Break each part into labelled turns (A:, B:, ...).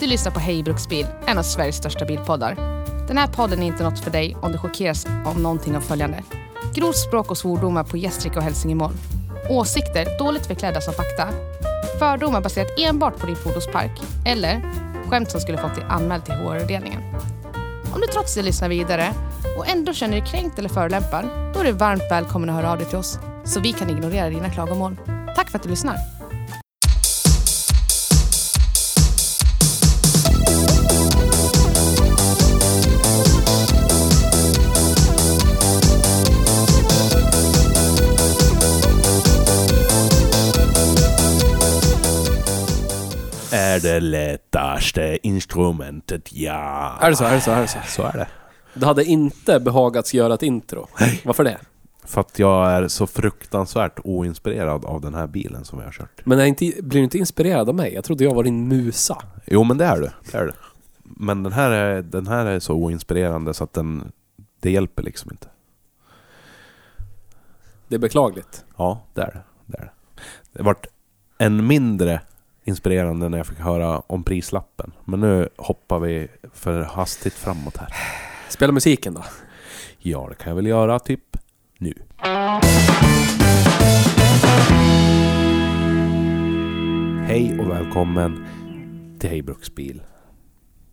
A: du lyssnar på Hej Bruksbil, en av Sveriges största bilpoddar. Den här podden är inte något för dig om du chockeras av någonting av följande. Grovt språk och svordomar på gästrike och hälsingemål. Åsikter dåligt förklädda som fakta. Fördomar baserat enbart på din fordonspark. Eller skämt som skulle fått dig anmäld till HR-avdelningen. Om du trots det lyssnar vidare och ändå känner dig kränkt eller förolämpad, då är du varmt välkommen att höra av dig till oss så vi kan ignorera dina klagomål. Tack för att du lyssnar!
B: är det lättaste instrumentet, ja.
C: Är det så? Är det så? Är det så?
B: Så är det.
C: Det hade inte behagats göra ett intro. Varför det?
B: För att jag är så fruktansvärt oinspirerad av den här bilen som jag har kört.
C: Men är inte, blir du inte inspirerad av mig? Jag trodde jag var din musa.
B: Jo, men det är du. Det är du. Men den här är, den här är så oinspirerande så att den, det hjälper liksom inte.
C: Det är beklagligt.
B: Ja, det är det. Det, är det. det vart än mindre inspirerande när jag fick höra om prislappen. Men nu hoppar vi för hastigt framåt här.
C: Spela musiken då.
B: Ja, det kan jag väl göra typ nu. Hej och välkommen till Hej Bruksbil.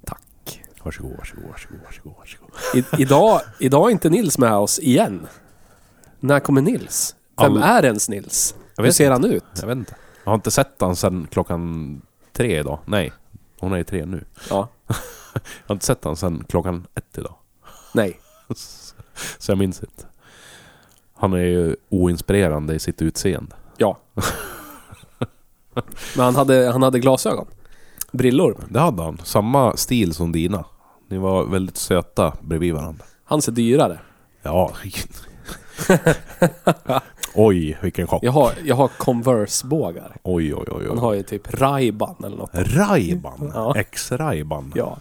C: Tack.
B: Varsågod, varsågod, varsågod, varsågod, varsågod.
C: I, idag, idag är inte Nils med oss igen. När kommer Nils? Vem
B: All-
C: är ens Nils?
B: Jag
C: Hur
B: vet
C: ser
B: inte.
C: han ut?
B: Jag vet inte. Jag har inte sett han sedan klockan tre idag. Nej, hon är ju tre nu.
C: Ja.
B: Jag har inte sett han sedan klockan ett idag.
C: Nej.
B: Så jag minns inte. Han är ju oinspirerande i sitt utseende.
C: Ja. Men han hade, han hade glasögon. Brillor.
B: Det hade han. Samma stil som dina. Ni var väldigt söta bredvid varandra.
C: Hans är dyrare.
B: Ja. oj, vilken chock.
C: Jag har, jag har Converse-bågar.
B: Oj, oj, oj.
C: Han
B: oj.
C: har ju typ Ray-Ban eller något.
B: Rajban.
C: Ja.
B: Ex-Rajban.
C: Ja.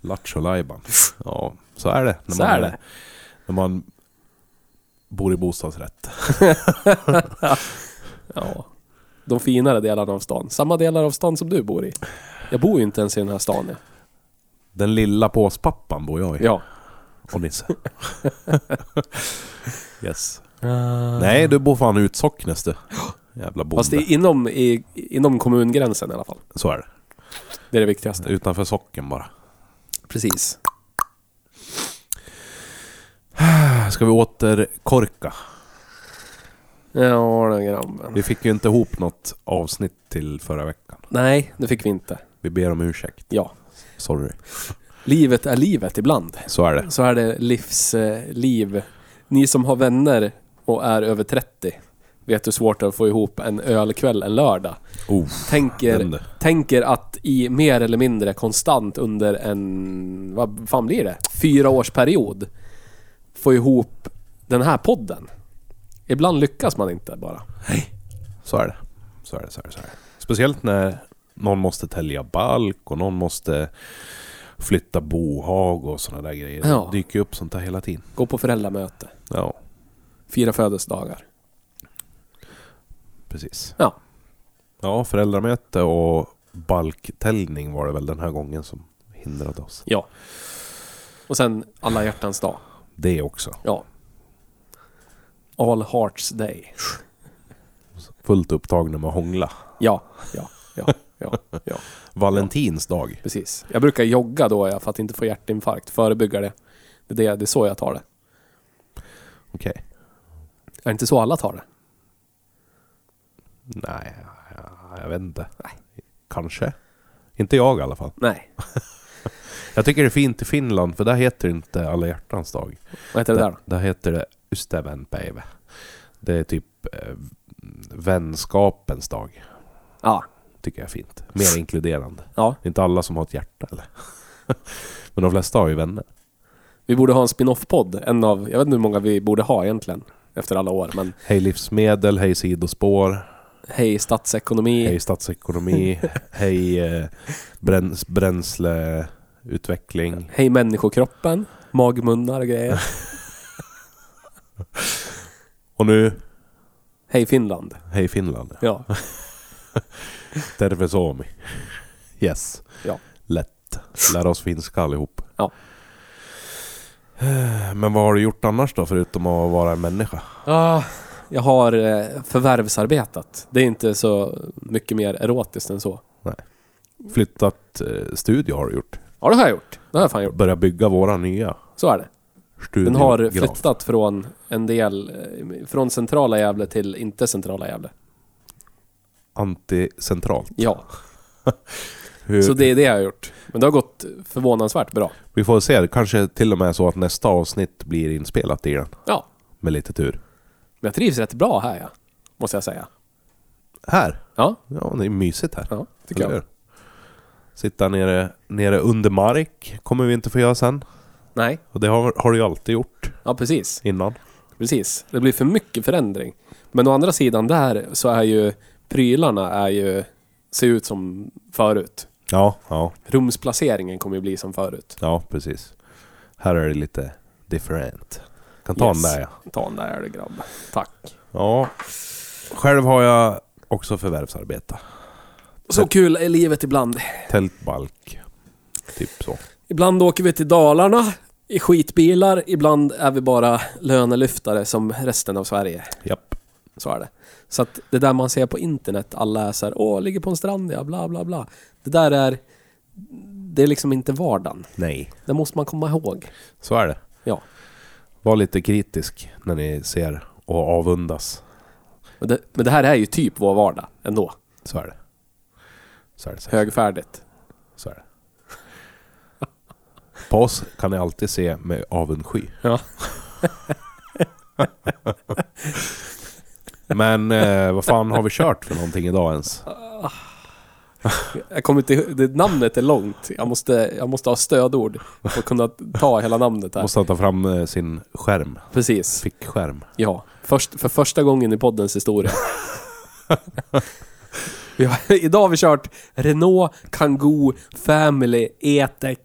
B: Lattjo Lajban. Ja, så är det.
C: Så är det.
B: När man bor i bostadsrätt.
C: Ja. De finare delarna av stan. Samma delar av stan som du bor i. Jag bor ju inte ens i den här stan. jag.
B: Den lilla påspappan bor jag i.
C: Ja.
B: Och Nisse. yes. Nej, du bor fan i Utsocknes du. Jävla bonde.
C: Fast det är inom, i, inom kommungränsen i alla fall.
B: Så är det.
C: Det är det viktigaste.
B: Utanför socken bara.
C: Precis.
B: Ska vi återkorka?
C: Ja, den grabben.
B: Vi fick ju inte ihop något avsnitt till förra veckan.
C: Nej, det fick vi inte.
B: Vi ber om ursäkt.
C: Ja.
B: Sorry.
C: Livet är livet ibland.
B: Så är det.
C: Så är det livsliv. Ni som har vänner och är över 30 vet hur svårt det är att få ihop en ölkväll en lördag.
B: Oh, den
C: Tänker,
B: du.
C: tänker att i mer eller mindre konstant under en, vad fan blir det? Fyra års period få ihop den här podden. Ibland lyckas man inte bara.
B: Så är det. Så är det, så är det, så är det. Speciellt när någon måste tälja balk och någon måste flytta bohag och sådana där grejer.
C: Ja.
B: Det dyker ju upp sånt där hela tiden.
C: Gå på föräldramöte,
B: Ja,
C: fira födelsedagar.
B: precis.
C: Ja,
B: Ja, föräldramöte och balktäljning var det väl den här gången som hindrade oss.
C: ja. Och sen alla hjärtans dag.
B: Det också.
C: Ja. All Hearts Day.
B: Fullt upptagna med att hångla.
C: Ja, ja, ja, ja, ja.
B: Valentins dag.
C: Precis. Jag brukar jogga då ja, för att inte få hjärtinfarkt. Förebygga det. Det är, det, det är så jag tar det.
B: Okej.
C: Är det inte så alla tar det?
B: Nej, jag vet inte. Kanske. Inte jag i alla fall.
C: Nej.
B: Jag tycker det är fint i Finland, för där heter det inte alla hjärtans dag.
C: Vad heter det där då?
B: Där heter det Ystävenpäivä. Det är typ eh, vänskapens dag.
C: Ja.
B: Tycker jag är fint. Mer inkluderande.
C: ja.
B: Det är inte alla som har ett hjärta eller? Men de flesta har ju vänner.
C: Vi borde ha en spin-off-podd. En av, jag vet inte hur många vi borde ha egentligen. Efter alla år. Men
B: Hej livsmedel, hej sidospår,
C: hej statsekonomi.
B: hej statsekonomi, hej eh, bräns- bränsleutveckling.
C: hej människokroppen. Magmunnar och grejer.
B: Och nu,
C: hej Finland.
B: hej Finland.
C: Ja.
B: Tervetuloa. Yes.
C: Ja.
B: lätt. Lära oss finska allihop. Eh,
C: Ja.
B: Men vad har du gjort annars då, förutom att vara en människa?
C: Ja, jag har eh, förvärvsarbetat. Det är inte så mycket mer erotiskt än så.
B: Flyttat eh, studio har du gjort.
C: Ja, det har jag gjort. Det har jag fan gjort.
B: Börjat bygga våra nya
C: Så är det.
B: studio.
C: Den har
B: Graf.
C: flyttat från en del... eh, Från centrala Gävle till inte centrala Gävle.
B: Anticentralt.
C: Ja,
B: Hur,
C: så det är det jag har gjort. Men det har gått förvånansvärt bra.
B: Vi får se, det kanske till och med är så att nästa avsnitt blir inspelat i den.
C: Ja,
B: Med lite tur.
C: men jag trivs rätt bra här, ja. Måste jag säga.
B: Här!
C: Ja,
B: Ja, det är mysigt här.
C: ja tycker
B: Eller
C: jag.
B: hur? Sitta nere, nere under mark kommer vi inte få göra sen.
C: Nej,
B: Och det har, har du ju alltid gjort
C: ja precis.
B: innan.
C: Precis. Det blir för mycket förändring. Men å andra sidan där så är ju prylarna är ju... Ser ut som förut.
B: Ja, ja,
C: Rumsplaceringen kommer ju bli som förut.
B: ja precis. Här är det lite different. Kan ta
C: Yes.
B: den där ja.
C: Ta en där du grabb. Tack.
B: Ja. Själv har jag också förvärvsarbetat.
C: Så kul är livet ibland.
B: Tältbalk. Typ så.
C: Ibland åker vi till Dalarna i skitbilar. Ibland är vi bara lönelyftare som resten av Sverige.
B: Japp.
C: Så är det. Så att det där man ser på internet, alla är så här, åh, ligger på en strand, ja, bla, bla, bla. Det där är... Det är liksom inte vardagen.
B: Nej.
C: Det måste man komma ihåg.
B: Så är det.
C: Ja.
B: Var lite kritisk när ni ser och avundas.
C: Men det, men det här är ju typ vår vardag ändå.
B: Så är det. Så är det. Så är det.
C: Högfärdigt.
B: Så är det. På oss kan ni alltid se med avundsky.
C: Ja.
B: Men eh, vad fan har vi kört för någonting idag ens?
C: Jag kommer inte ihåg- det, namnet är långt. Jag måste, jag måste ha stödord för att kunna ta hela namnet här.
B: Måste han ta fram eh, sin skärm.
C: Precis.
B: Fickskärm.
C: Ja, först, för första gången i poddens historia. vi har, idag har vi kört Renault Kangoo Family E-Tech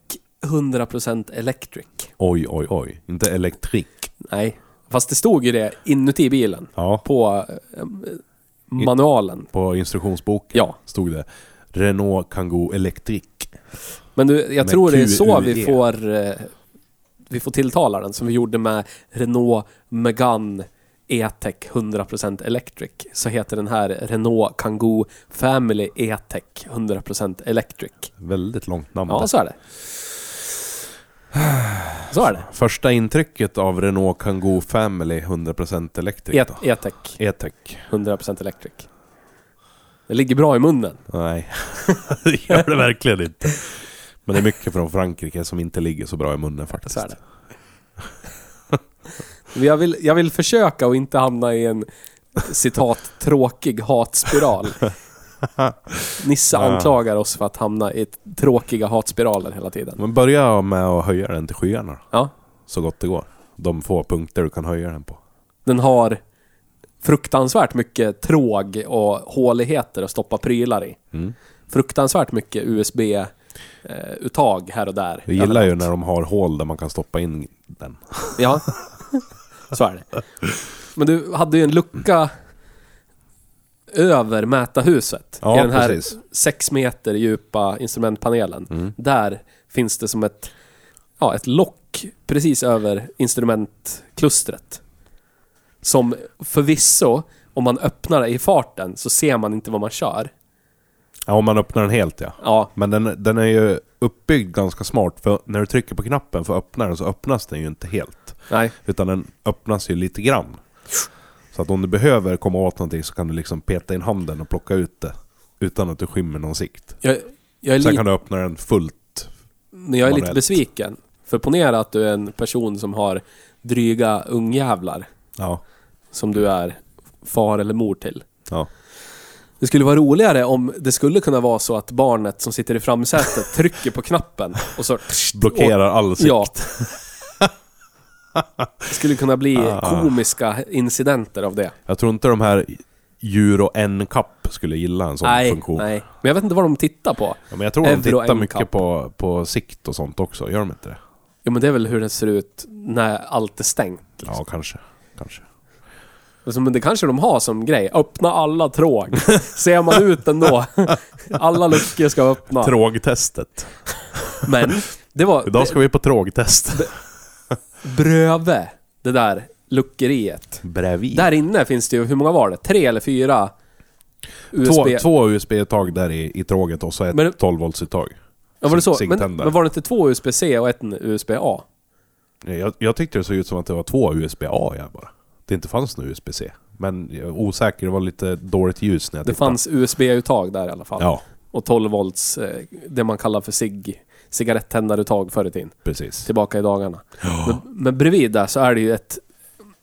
C: 100% Electric.
B: Oj, oj, oj. Inte elektrik.
C: Nej, fast det stod ju det inuti bilen
B: Ja,
C: på eh, manualen.
B: på instruktionsboken
C: Ja,
B: stod det Renault Kangoo Elektrik.
C: men E. du, jag
B: Med
C: tror det är så vi
B: QUE.
C: får, eh, vi får tilltala den som vi gjorde med Renault Megane E-Tech 100% Electric. Så heter den här Renault Kangoo Family E-Tech 100% Electric.
B: Väldigt långt namn.
C: Ja, så är det. Så är det.
B: Första intrycket av Renault Kangoo Family 100% elektrik då?
C: E- E-Tech
B: E-tech.
C: 100% Electric. Det ligger bra i munnen.
B: Nej, det gör det verkligen inte. Men det är mycket från Frankrike som inte ligger så bra i munnen faktiskt.
C: Så är det. Men Jag vill, jag vill försöka och inte hamna i en citat tråkig hatspiral. Nisse
B: Ja.
C: anklagar oss för att hamna i tråkiga hatspiraler hela tiden.
B: Men börja med att höja den till skyarna då,
C: Ja,
B: så gott det går. De få punkter du kan höja den på.
C: den har fruktansvärt mycket tråg och håligheter att stoppa prylar i.
B: Mm.
C: Fruktansvärt mycket USB-uttag eh, här och där.
B: Jag gillar ju när de har hål där man kan stoppa in den.
C: Ja, så är det. Men du hade ju en lucka över mätarhuset.
B: Ja,
C: I den här
B: precis.
C: sex meter djupa instrumentpanelen.
B: Mm.
C: Där finns det som ett, ja, ett lock precis över instrumentklustret. Som förvisso, om man öppnar det i farten så ser man inte vad man kör.
B: Ja, om man öppnar den helt ja.
C: Ja,
B: Men den, den är ju uppbyggd ganska smart, för när du trycker på knappen för att öppna den så öppnas den ju inte helt.
C: nej,
B: Utan den öppnas ju lite grann. Så att om du behöver komma åt någonting så kan du liksom peta in handen och plocka ut det. Utan att du skymmer någon sikt.
C: jag, jag är
B: Sen
C: lite-
B: kan du öppna den fullt.
C: Men jag är lite
B: manuellt.
C: besviken. För ponera att du är en person som har dryga ungjävlar
B: Ja.
C: som du är far eller mor till.
B: ja.
C: Det skulle vara roligare om det skulle kunna vara så att barnet som sitter i framsätet trycker på knappen och så...
B: Blockerar all sikt.
C: Ja. Det skulle kunna bli
B: Ah.
C: komiska incidenter av det.
B: Jag tror inte de här Euro NCAP skulle gilla en sån
C: Nej,
B: funktion.
C: nej. Men jag vet inte vad de tittar på.
B: Ja, men jag tror de
C: Euro
B: tittar
C: NCAP.
B: mycket på, på sikt och sånt också, gör de inte det?
C: Jo men det är väl hur det ser ut när allt är stängt.
B: Ja, kanske. kanske.
C: Alltså, Men det kanske de har som grej. Öppna alla tråg. Ser man ut ändå. Alla luckor ska öppna.
B: Trågtestet.
C: Men det var...
B: Idag ska vi på trågtest.
C: Bröve det där luckeriet.
B: Bredvid.
C: Där inne finns det ju, hur många var det? Tre eller fyra USB?
B: Två, två USB-uttag där i, i tråget och så ett
C: Men-
B: 12 volts-uttag.
C: ja, var det så? Men,
B: zinktändare.
C: men var det inte två USB-C och ett USB-A?
B: Jag, jag tyckte det såg ut som att det var två USB-A jag bara. Det inte fanns någon USB-C. Men jag är osäker, det var lite dåligt ljus när jag
C: Det
B: tittade.
C: fanns USB-uttag där i alla fall.
B: Ja,
C: Och 12 volts, eh, det man kallar för cig, cigarettändaruttag förr i tiden.
B: precis.
C: Tillbaka i dagarna. Men, men bredvid där så är det ju ett,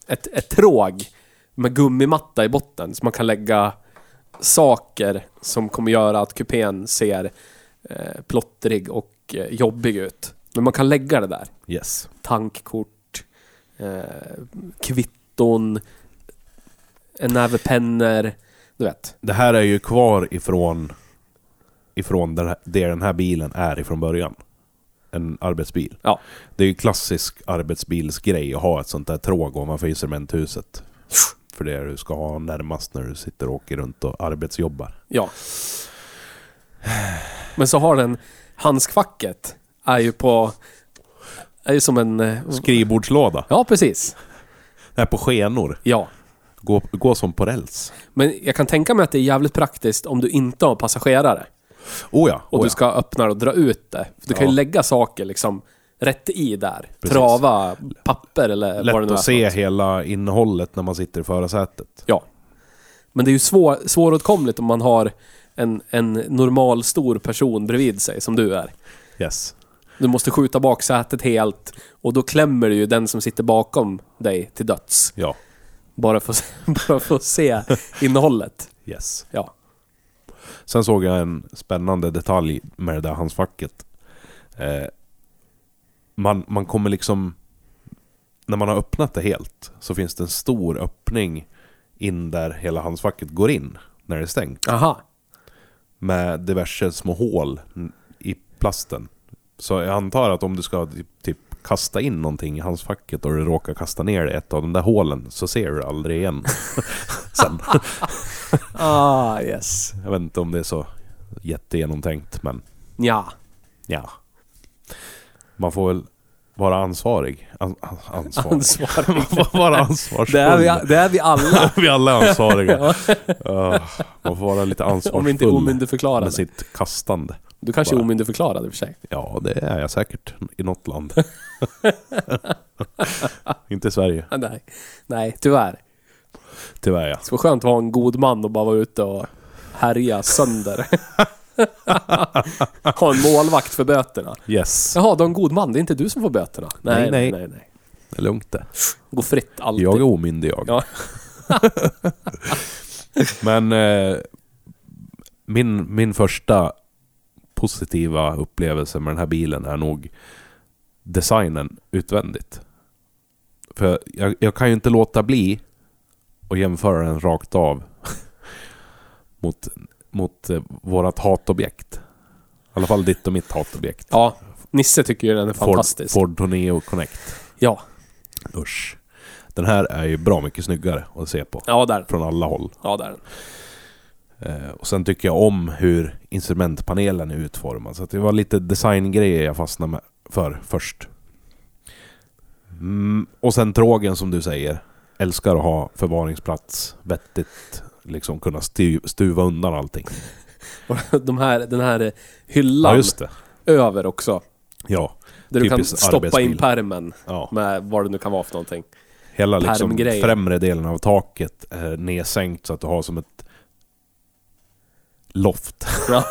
C: ett, ett tråg med gummimatta i botten. Så man kan lägga saker som kommer göra att kupén ser eh, plottrig och eh, jobbig ut. Men man kan lägga det där.
B: Yes.
C: Tankkort, eh, kvitton, en näve pennor. Du vet.
B: Det här är ju kvar ifrån, ifrån det, det den här bilen är ifrån början. En arbetsbil.
C: Ja.
B: Det är ju klassisk arbetsbilsgrej att ha ett sånt där tråg ovanför instrumenthuset. För det är det du ska ha närmast när du sitter och åker runt och arbetsjobbar.
C: Ja. Men så har den handskfacket är ju på... Är ju som en... eh,
B: Skrivbordslåda.
C: Ja, precis.
B: Det är på skenor.
C: Ja.
B: Gå, gå som på räls.
C: Men jag kan tänka mig att det är jävligt praktiskt om du inte har passagerare.
B: Oh ja,
C: Och
B: oh
C: du
B: ja.
C: ska öppna och dra ut det. För du kan ju
B: Ja.
C: lägga saker liksom rätt i där.
B: Precis.
C: Trava papper eller vad Eh, det
B: Lätt
C: nu är.
B: att
C: för
B: se
C: något.
B: hela innehållet när man sitter i förarsätet.
C: Ja. Men det är ju svår, svåråtkomligt om man har en, en normal stor person bredvid sig som du är.
B: Yes.
C: Du måste skjuta baksätet helt och då klämmer du ju den som sitter bakom dig till döds.
B: Ja.
C: Bara för, att- bara för att se innehållet.
B: Yes.
C: Ja.
B: Sen såg jag en spännande detalj med det där handskfacket. Eh, man, man kommer liksom... När man har öppnat det helt så finns det en stor öppning in där hela handskfacket går in när det är stängt.
C: Aha.
B: Med diverse små hål n- i plasten. Så jag antar att om du ska typ, typ kasta in någonting i handskfacket och du råkar kasta ner det i ett av de där hålen så ser du det aldrig igen. Sen.
C: Ah, yes.
B: Jag vet inte om det är så jättegenomtänkt men...
C: Ja.
B: Ja. Man får väl vara ansvarig. An an- ansvarig.
C: Ansvarig.
B: Man får vara ansvarsfull.
C: Det är vi, det är vi alla.
B: Vi alla är ansvariga. Ah, man får vara lite ansvarsfull.
C: Om vi inte är omyndigförklarade.
B: Med sitt kastande.
C: Du kanske är
B: Bara.
C: omyndigförklarad i och för sig.
B: Ja, det är jag säkert i något land. inte i Sverige,
C: Ah, Nej. Nej, tyvärr.
B: tyvärr ja.
C: Det var skönt att vara en god man och bara vara ute och härja sönder. ha en målvakt för böterna.
B: Yes.
C: Jaha, du har en god man. Det är inte du som får böterna.
B: Nej, nej.
C: nej, nej.
B: Det är lugnt det.
C: Gå fritt alltid.
B: Jag är omyndig jag.
C: Ja.
B: Men eh, min, min första positiva upplevelse med den här bilen är nog designen utvändigt. För jag, jag kan ju inte låta bli att jämföra den rakt av mot, mot eh, vårat hatobjekt. I alla fall ditt och mitt hatobjekt.
C: Ja, Nisse tycker ju den är
B: Ford,
C: fantastisk.
B: Ford Torneo Connect.
C: Ja,
B: Usch. Den här är ju bra mycket snyggare att se på.
C: ja där.
B: Från alla håll.
C: Ja, där.
B: Eh, Och sen tycker jag om hur instrumentpanelen är utformad. Så att det var lite designgrejer jag fastnade med för först. Mm, och sen trågen som du säger. Älskar att ha förvaringsplats, vettigt. Liksom kunna stu- stuva undan allting.
C: Och De här, den här hyllan
B: Ja, just det.
C: över också.
B: Ja.
C: Där du kan
B: Typiskt
C: stoppa in
B: arbetsbil.
C: pärmen
B: ja.
C: med vad det nu kan vara för någonting.
B: Hela liksom
C: Pärmgrejen.
B: främre delen av taket är nedsänkt så att du har som ett loft
C: Ja,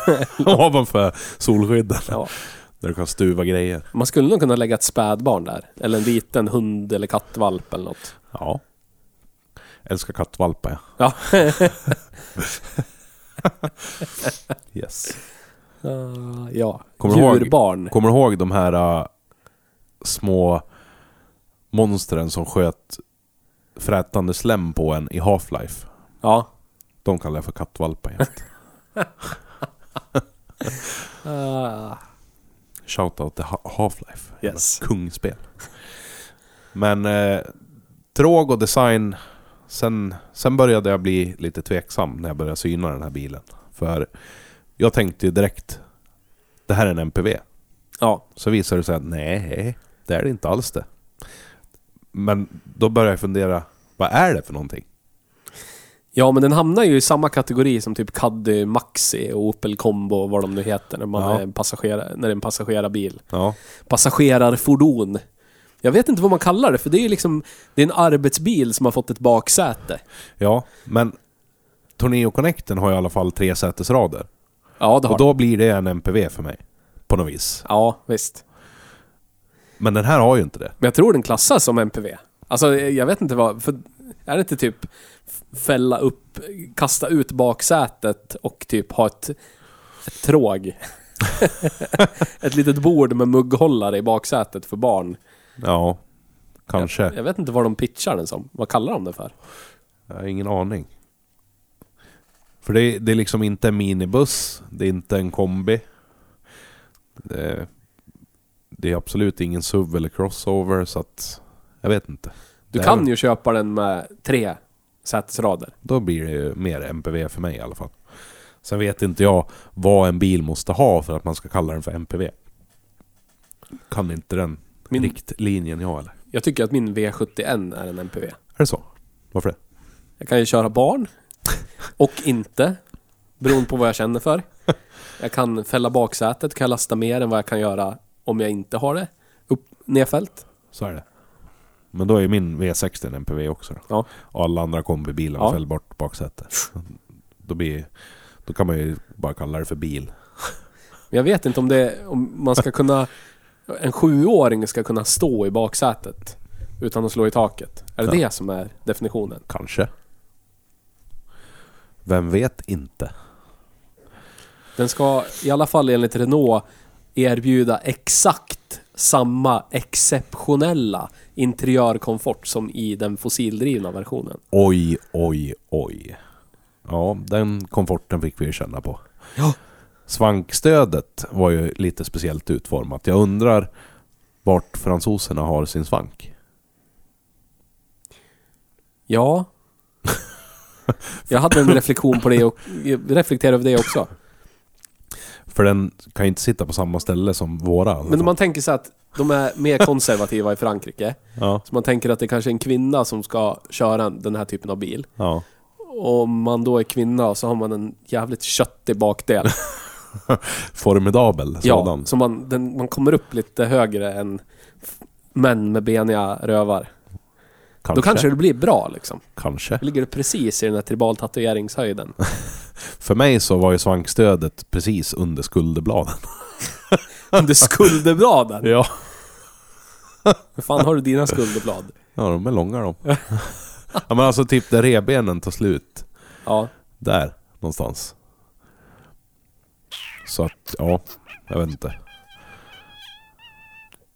B: ovanför solskydden.
C: ja.
B: Där du kan stuva grejer.
C: Man skulle nog kunna lägga ett spädbarn där. Eller en liten hund eller kattvalp eller något.
B: Ja. Älskar kattvalpar ja.
C: Ja.
B: Yes.
C: Ah, ja.
B: Kommer du ihåg-
C: Djurbarn.
B: Kommer du ihåg de här äh, små monstren som sköt frätande slem på en i Half-Life?
C: Ja.
B: De kallar jag för kattvalpar jämt.
C: Ah,
B: Shoutout till Ha- Half-Life.
C: Yes.
B: Jävla Kungspel. Men eh, tråg och äh, design Sen, sen började jag bli lite tveksam när jag började syna den här bilen. För jag tänkte ju direkt, det här är en MPV.
C: Ja.
B: Så visar det sig att nej, det är det inte alls det. Men då började jag fundera, vad är det för någonting?
C: Ja, men den hamnar ju i samma kategori som typ Caddy Maxi och Opel Combo och vad de nu heter när man
B: Ja.
C: är en passagerare, när det är en passagerarbil.
B: Ja,
C: Passagerarfordon. Jag vet inte vad man kallar det, för det är ju liksom... Det är en arbetsbil som har fått ett baksäte.
B: ja men Torneo Connecten har i alla fall tre sätesrader.
C: Ja, det har
B: Och då blir det en MPV för mig. På något vis.
C: Ja, visst.
B: Men den här har ju inte det.
C: Men jag tror den klassas som MPV. Alltså, jag vet inte vad... För är det inte typ f- fälla upp, kasta ut baksätet och typ ha ett, ett tråg? ett litet bord med mugghållare i baksätet för barn.
B: Ja, kanske.
C: Jag vet inte vad de pitchar den som. Vad kallar de det för?
B: Jag har ingen aning. För det, är- det är liksom inte en minibuss, det är inte en kombi. Det, är- det är absolut ingen SUV eller crossover så att... Jag vet inte.
C: Du
B: Det är
C: kan
B: väl-
C: ju köpa den med tre sätesrader.
B: Då blir det ju mer MPV för mig i alla fall. Sen vet inte jag vad en bil måste ha för att man ska kalla den för MPV. Kan inte den
C: Min-
B: riktlinjen jag eller?
C: Jag tycker att min V71 är en MPV.
B: Är det så? Varför det?
C: Jag kan ju köra barn. Och inte. Beroende på vad jag känner för. Jag kan fälla baksätet, kan jag lasta mer än vad jag kan göra om jag inte har det upp, nedfällt.
B: Så är det. Men då är ju min V60 en MPV också då.
C: Ja.
B: Och alla andra kombibilar
C: Ja.
B: ja. bort baksäte. Då, blir, då kan man ju bara kalla det för bil.
C: Men jag vet inte om det om man ska kunna... En sjuåring ska kunna stå i baksätet utan att slå i taket. Är det
B: Ja.
C: det som är definitionen?
B: Kanske. Vem vet inte?
C: Den ska i alla fall enligt Renault erbjuda exakt samma exceptionella interiörkomfort som i den fossildrivna versionen.
B: Oj, oj, oj. Ja, den komforten fick vi ju känna på.
C: Ja.
B: Svankstödet var ju lite speciellt utformat. Jag undrar vart fransoserna har sin svank.
C: Ja. Jag hade en reflektion på det och jag reflekterade över det också.
B: För den kan ju inte sitta på samma ställe som våra. i alla
C: Men om
B: fall.
C: man tänker sig att de är mer konservativa i Frankrike.
B: Ja,
C: Så man tänker att det kanske är en kvinna som ska köra den här typen av bil.
B: ja.
C: Och om man då är kvinna så har man en jävligt köttig bakdel.
B: formidabel sådan.
C: Ja, så man, den, man kommer upp lite högre än f- män med beniga rövar.
B: kanske.
C: Då kanske det blir bra liksom.
B: Kanske.
C: Då ligger det precis i den här tribaltatueringshöjden.
B: För mig så var ju svankstödet precis under skulderbladen.
C: Under skulderbladen!
B: Ja.
C: Hur fan har du dina skulderblad?
B: Ja, de är långa de. ja, men alltså typ där revbenen tar slut.
C: Ja.
B: Där någonstans. Så att, ja. Jag vet inte.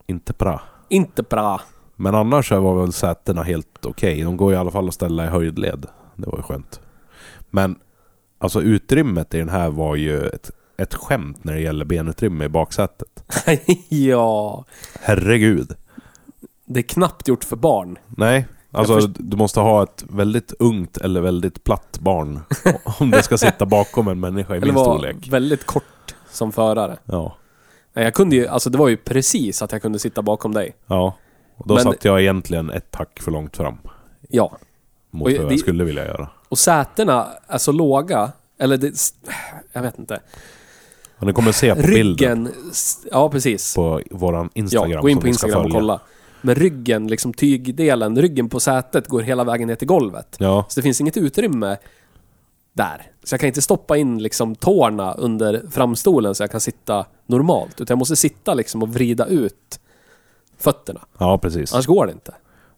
B: Inte bra.
C: Inte bra.
B: Men annars så var väl sätena helt okej. De går i alla fall att ställa i höjdled. Det var ju skönt. Men alltså utrymmet i den här var ju ett, ett skämt när det gäller benutrymme i baksätet.
C: ja.
B: Herregud.
C: Det är knappt gjort för barn.
B: Nej, alltså
C: först-
B: du måste ha ett väldigt ungt eller väldigt platt barn om det ska sitta bakom en människa i
C: Eller
B: min
C: var
B: storlek.
C: väldigt kort som förare.
B: Ja,
C: Nej, jag kunde ju, alltså det var ju precis att jag kunde sitta bakom dig.
B: ja. Och då
C: Men-
B: satt jag egentligen ett tack för långt fram
C: Ja.
B: mot
C: Och
B: vad
C: jag-
B: jag
C: det-
B: skulle vilja göra.
C: Och sätena är så låga. Eller det... Jag vet inte.
B: Och ni kommer se på bilden
C: Ryggen... s- Ja, precis.
B: på våran Instagram
C: ja, gå in
B: som
C: på
B: ni ska
C: Instagram och
B: följa.
C: kolla. Men ryggen, liksom tygdelen, ryggen på sätet går hela vägen ner till golvet.
B: Ja,
C: Så det finns inget utrymme där. Så jag kan inte stoppa in liksom tårna under framstolen så jag kan sitta normalt. Utan jag måste sitta liksom och vrida ut fötterna.
B: ja precis.
C: Annars går det inte. Då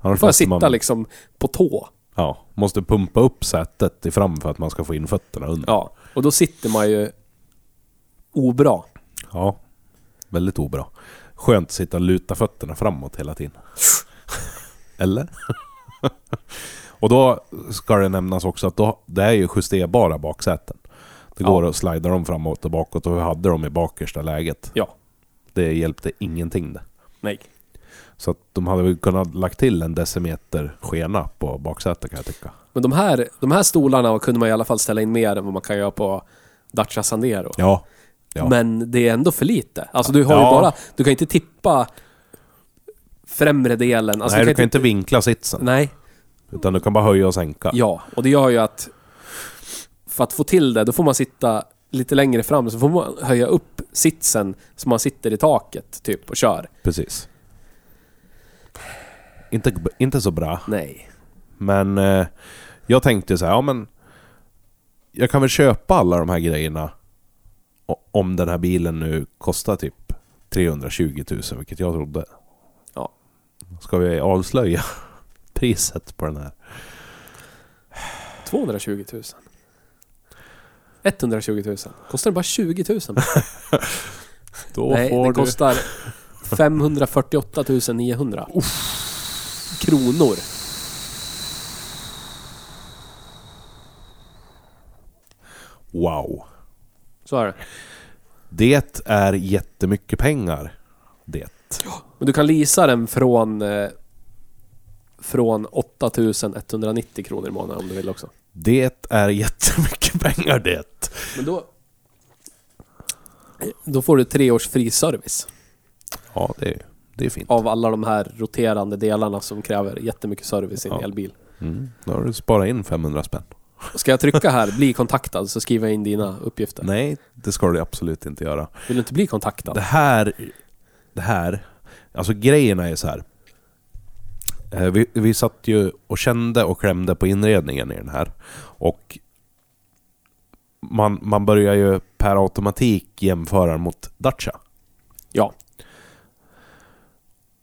B: Annars
C: får jag
B: måste
C: sitta
B: Alltså, man,
C: liksom på tå.
B: Ja, måste pumpa upp sätet i fram för att man ska få in fötterna under.
C: Ja. Och då sitter man ju obra.
B: Ja, väldigt obra. Skönt att sitta och luta fötterna framåt hela tiden. Eller? och då ska det nämnas också att då, det är ju justerbara baksäten. Det
C: Ja.
B: går att slida dem framåt och bakåt och vi hade dem i bakersta läget.
C: Ja.
B: Det hjälpte ingenting det.
C: Nej.
B: Så att de hade väl kunnat lagt till en decimeter skena på baksätet kan jag tycka.
C: Men de här, de här stolarna kunde man i alla fall ställa in mer än vad man kan göra på Dacia Sandero.
B: Ja. ja.
C: Men det är ändå för lite. Alltså du har ju
B: Ja.
C: bara... Du kan inte tippa främre delen. Alltså,
B: Nej, du kan inte vinkla sitsen.
C: Nej,
B: Utan du kan bara höja och sänka.
C: ja. Och det gör ju att... För att få till det, då får man sitta lite längre fram. Så får man höja upp sitsen så man sitter i taket typ och kör.
B: Precis. Inte, inte så bra.
C: Nej.
B: Men eh, jag tänkte så här, ja men... Jag kan väl köpa alla de här grejerna o- om den här bilen nu kostar typ 320 000, vilket jag trodde.
C: Ja.
B: Ska vi avslöja priset på den här?
C: 220 000. 120 000. Kostar det bara 20 000?
B: Då
C: Nej,
B: får
C: det
B: du...
C: kostar 548 900. Kronor.
B: Wow.
C: Så är det.
B: Det är jättemycket pengar. Det.
C: Men du kan leasa den från eh, från 8190 kronor i månaden om du vill också.
B: Det är jättemycket pengar det.
C: Men då... Då får du tre års fri service
B: Ja, det är, det är fint.
C: av alla de här roterande delarna som kräver jättemycket service i en
B: Ja.
C: elbil.
B: Mm. Då har du sparat in 500 spänn.
C: Ska jag trycka här, bli kontaktad, så skriver jag in dina uppgifter.
B: Nej, det ska du absolut inte göra.
C: Vill du inte bli kontaktad?
B: Det här... Det här... Alltså grejerna är så här. Eh, Vi, vi satt ju och kände och klämde på inredningen i den här. Och man, man börjar ju per automatik jämföra den mot Dacia.
C: Ja.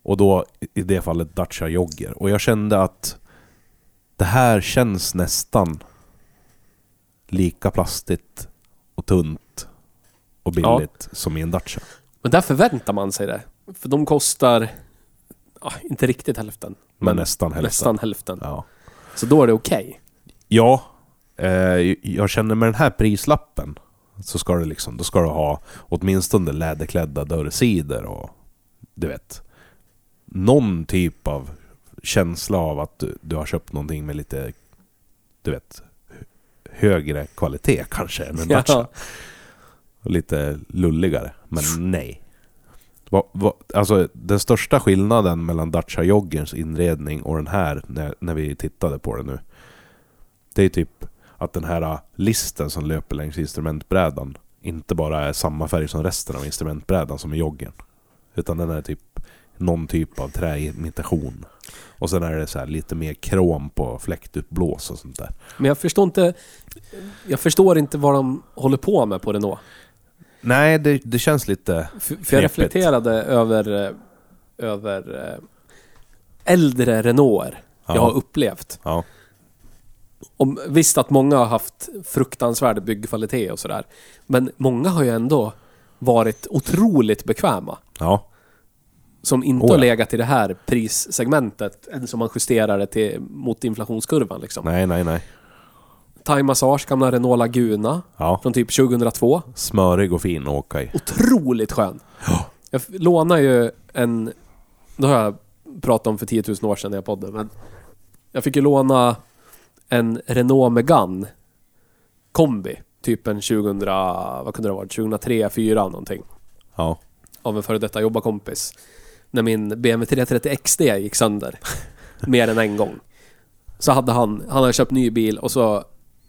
B: Och då i det fallet Dacia Jogger. Och jag kände att det här känns nästan lika plastigt och tunt och
C: Ja.
B: billigt som i en Dacia.
C: Men där förväntar man sig det. För de kostar... ah, inte riktigt hälften.
B: Men, nästan hälften.
C: Nästan hälften.
B: Ja,
C: Så då är det okej.
B: ja eh, jag känner med den här prislappen så ska du liksom, då ska du ha åtminstone läderklädda dörrsidor och du vet. Någon typ av känsla av att du, du har köpt någonting med lite, du vet, högre kvalitet kanske än en
C: Ja.
B: Dacia. Och lite lulligare. Men nej. Va, va, alltså den största skillnaden mellan Dacia Joggerns inredning och den här, när, när vi tittade på den nu. Det är typ att den här ah, listen som löper längs instrumentbrädan inte bara är samma färg som resten av instrumentbrädan som i joggen. Utan den är typ någon typ av träimitation. Och sen är det så här lite mer krom på fläktutblås och sånt där.
C: Men jag förstår inte... Jag förstår inte vad de håller på med på Renault.
B: Nej, det, det känns lite...
C: För, för jag
B: Knepigt.
C: reflekterade över... eh, Över... eh, Äldre Renaulter
B: Ja.
C: jag har upplevt.
B: Ja.
C: Om, visst att många har haft fruktansvärd byggkvalitet och sådär. Men många har ju ändå varit otroligt bekväma.
B: Ja.
C: Som inte
B: Oh ja.
C: har legat i det här prissegmentet. än Som man justerar det till, mot inflationskurvan liksom.
B: Nej, nej, nej.
C: Thai Massage, gamla Renault Laguna.
B: Ja.
C: Från typ 2002.
B: Smörig och fin att åka i.
C: Otroligt skön.
B: Ja.
C: Jag f- lånar ju en... Det har jag pratat om för 10 000 år sedan i podden. Men jag fick ju låna en Renault Megane kombi. Typ en 2000... Vad kunde det ha varit? 2003, 2004 någonting.
B: Ja.
C: av en före detta jobbarkompis när min BMW 330 XD gick sönder mer än en gång. Så hade han, han hade köpt ny bil och så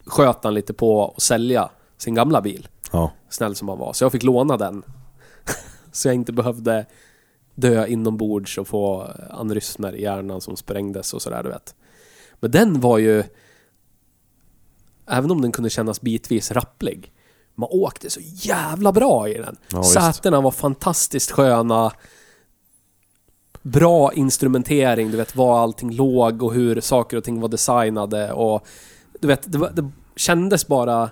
C: sköt han lite på att sälja sin gamla bil.
B: Ja.
C: Snäll som han var. Så jag fick låna den. så jag inte behövde dö inombords och få aneurysmer i hjärnan som sprängdes och sådär du vet. Men den var ju... Även om den kunde kännas bitvis rapplig. Man åkte så jävla bra i den.
B: Ja, visst.
C: Sätena var fantastiskt sköna. Bra instrumentering, du vet var allting låg och hur saker och ting var designade och... Du vet, det, var, det kändes bara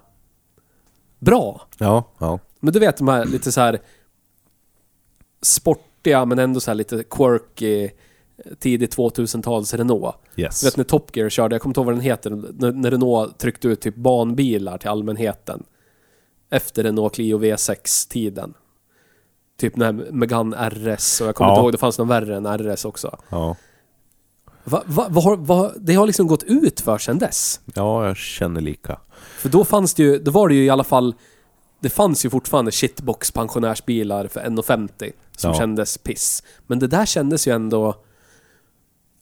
C: bra.
B: Ja. Ja.
C: Men du vet de här lite så här sportiga men ändå så här lite quirky tidigt 2000-tals Renault.
B: Yes.
C: Du vet när Top Gear körde, jag kommer inte ihåg vad den heter, när, när Renault tryckte ut typ banbilar till allmänheten. Efter Renault Clio V6-tiden. Typ den här Megane RS och jag kommer
B: Ja.
C: inte ihåg, det fanns någon värre än RS också.
B: Ja.
C: Va, va, vad har, vad, det har liksom gått ut för sen dess.
B: ja, jag känner lika.
C: För då fanns det ju, då var det ju i alla fall... Det fanns ju fortfarande shitbox pensionärsbilar för 1,50 som
B: Ja.
C: kändes piss. Men det där kändes ju ändå...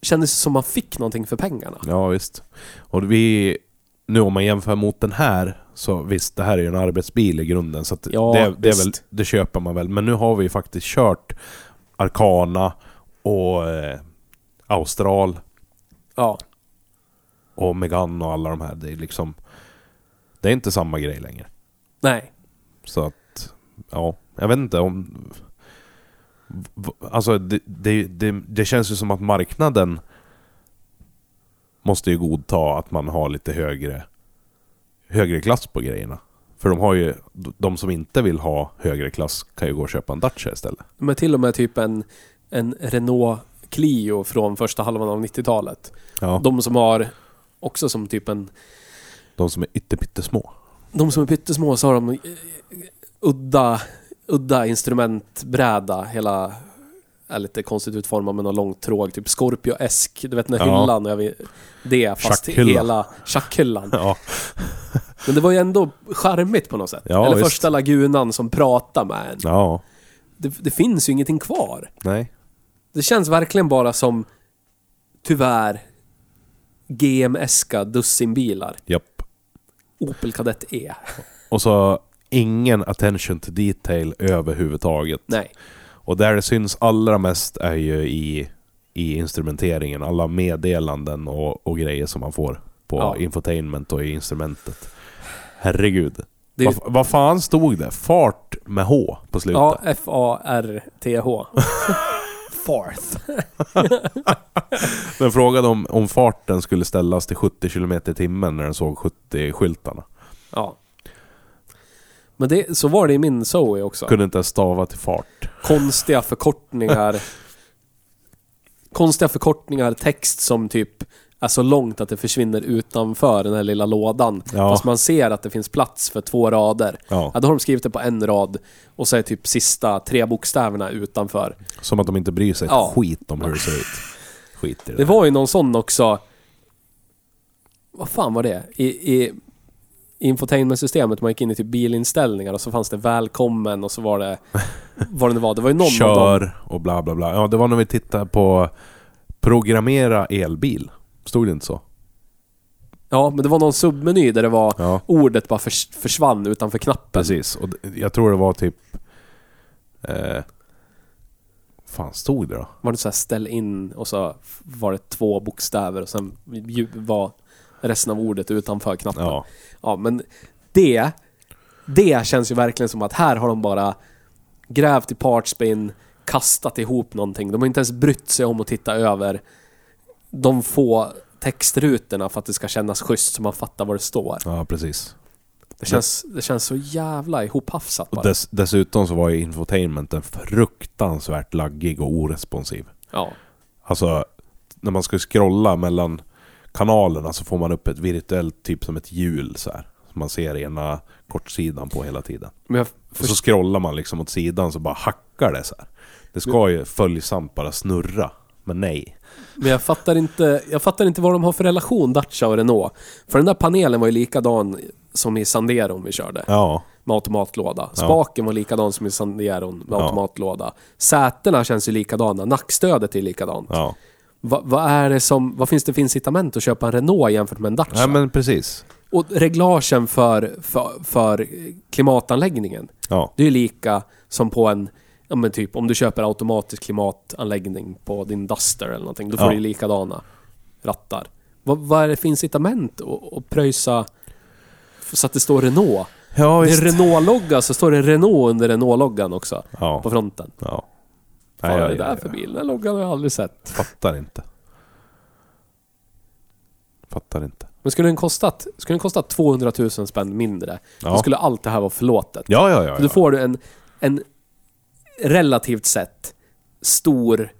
C: Kändes som man fick någonting för pengarna.
B: Ja, visst. Och vi... Nu om man jämför mot den här, så visst, det här är ju en arbetsbil i grunden. Så att
C: Ja,
B: det, det, är väl,
C: visst.
B: det köper man väl. Men nu har vi ju faktiskt kört Arkana och eh, Austral
C: Ja.
B: och Megane och alla de här. Det är liksom... Det är inte samma grej längre.
C: Nej.
B: Så att, ja, jag vet inte om... v- Alltså det, det, det, det känns ju som att marknaden måste ju godta att man har lite högre, högre klass på grejerna. För de har ju, de som inte vill ha högre klass kan ju gå och köpa en Dacia istället.
C: Men till och med typ en, en Renault Clio från första halvan av 90-talet.
B: Ja. De,
C: De som har också som typ en...
B: som är ytterpyttesmå.
C: De som är pyttesmå så har de eh, udda, udda instrumentbräda. Hela är lite konstigt utformad med någon lång tråg. Typ Scorpio-esk. Du vet den där
B: Ja.
C: hyllan. Jag vet, det fast
B: Schackhyllan.
C: hela schackhyllan.
B: Ja,
C: Men det var ju ändå charmigt på något sätt.
B: Ja,
C: Eller
B: visst.
C: första lagunan som pratar med en.
B: ja,
C: Det, det finns ju ingenting kvar.
B: nej.
C: Det känns verkligen bara som, tyvärr, GM-eska dussinbilar.
B: Japp.
C: Opel Kadett E.
B: Och så ingen attention to detail överhuvudtaget.
C: Nej.
B: Och där det syns allra mest är ju i, i instrumenteringen. Alla meddelanden och, och grejer som man får på
C: Ja.
B: infotainment och i instrumentet. Herregud.
C: Det är-
B: Vad vad fan stod det? Fart med H på slutet.
C: Ja, F-A-R-T-H. Farth.
B: Den frågade om, om farten skulle ställas till 70 km i timmen när den såg 70-skyltarna.
C: Ja. Men det, så var det i min Zoe också.
B: Kunde inte ens stava till fart.
C: Konstiga förkortningar. konstiga förkortningar, text som typ är så långt att det försvinner utanför den här lilla lådan.
B: Ja.
C: Fast man ser att det finns plats för två rader.
B: Ja.
C: då har de skrivit det på en rad och så är typ sista tre bokstäverna utanför.
B: Som att de inte bryr sig ett
C: Ja.
B: skit om hur det ser ut. Skit i det.
C: Det var ju någon sån också. Vad fan var det? I, i infotainmentsystemet, man gick in i typ bilinställningar och så fanns det välkommen och så var det vad det nu var. Det var ju någon av dem.
B: Kör och bla bla bla. Ja, det var när vi tittade på Programmera elbil. Stod det inte så?
C: Ja, men det var någon submeny där det var
B: Ja.
C: ordet bara förs försvann utanför knappen.
B: Precis, och d- jag tror det var typ... Eh, fan stod det då?
C: Var det så här ställ in och så var det två bokstäver och sen ju- var resten av ordet utanför knappen.
B: Ja.
C: Ja, men det, det känns ju verkligen som att här har de bara grävt i partspin, kastat ihop någonting. De har inte ens brytt sig om att titta över de få textrutorna för att det ska kännas schysst så man fattar vad det står.
B: ja, precis.
C: Det känns, det känns så jävla ihophafsat
B: Och
C: bara.
B: dess, dessutom så var ju infotainmenten fruktansvärt laggig och oresponsiv.
C: Ja.
B: Alltså, när man ska scrolla mellan kanalerna så får man upp ett virtuellt, typ som ett hjul så här. Som man ser ena kortsidan på hela tiden.
C: Men jag
B: Och så
C: förstår,
B: scrollar man liksom åt sidan så bara hackar det så här. Det ska ju följsamt bara snurra. Men nej.
C: men jag fattar, inte, jag fattar inte vad de har för relation Dacia och Renault. För den där panelen var ju likadan som i Sanderon vi körde.
B: Ja.
C: med automatlåda. Spaken var likadan som i Sandieron med
B: Ja.
C: automatlåda. Sätena känns ju likadana. Nackstödet är likadant.
B: Ja.
C: Va, vad är det som... Vad finns det för incitament att köpa en Renault jämfört med en Dacia?
B: Nej men precis.
C: Och reglagen för, för, för klimatanläggningen.
B: Ja.
C: Det är ju lika som på en... Ja men typ om du köper automatisk klimatanläggning på din Duster eller någonting. Då får
B: Ja.
C: du ju likadana rattar. Vad, vad är det för incitament att, att pröjsa så att det står Renault?
B: Ja,
C: det är Renault-logga så står det Renault under Renault-loggan också.
B: Ja.
C: På fronten.
B: Ja.
C: Vad
B: Nej,
C: är
B: jag,
C: det där
B: jag,
C: för bil? Den här loggan har jag aldrig sett.
B: fattar inte. Fattar inte.
C: Men skulle den kostat, skulle den kostat 200 000 spänn mindre,
B: Ja.
C: då skulle allt det här vara förlåtet.
B: Ja, ja, ja.
C: För Då får du en, en relativt sett stor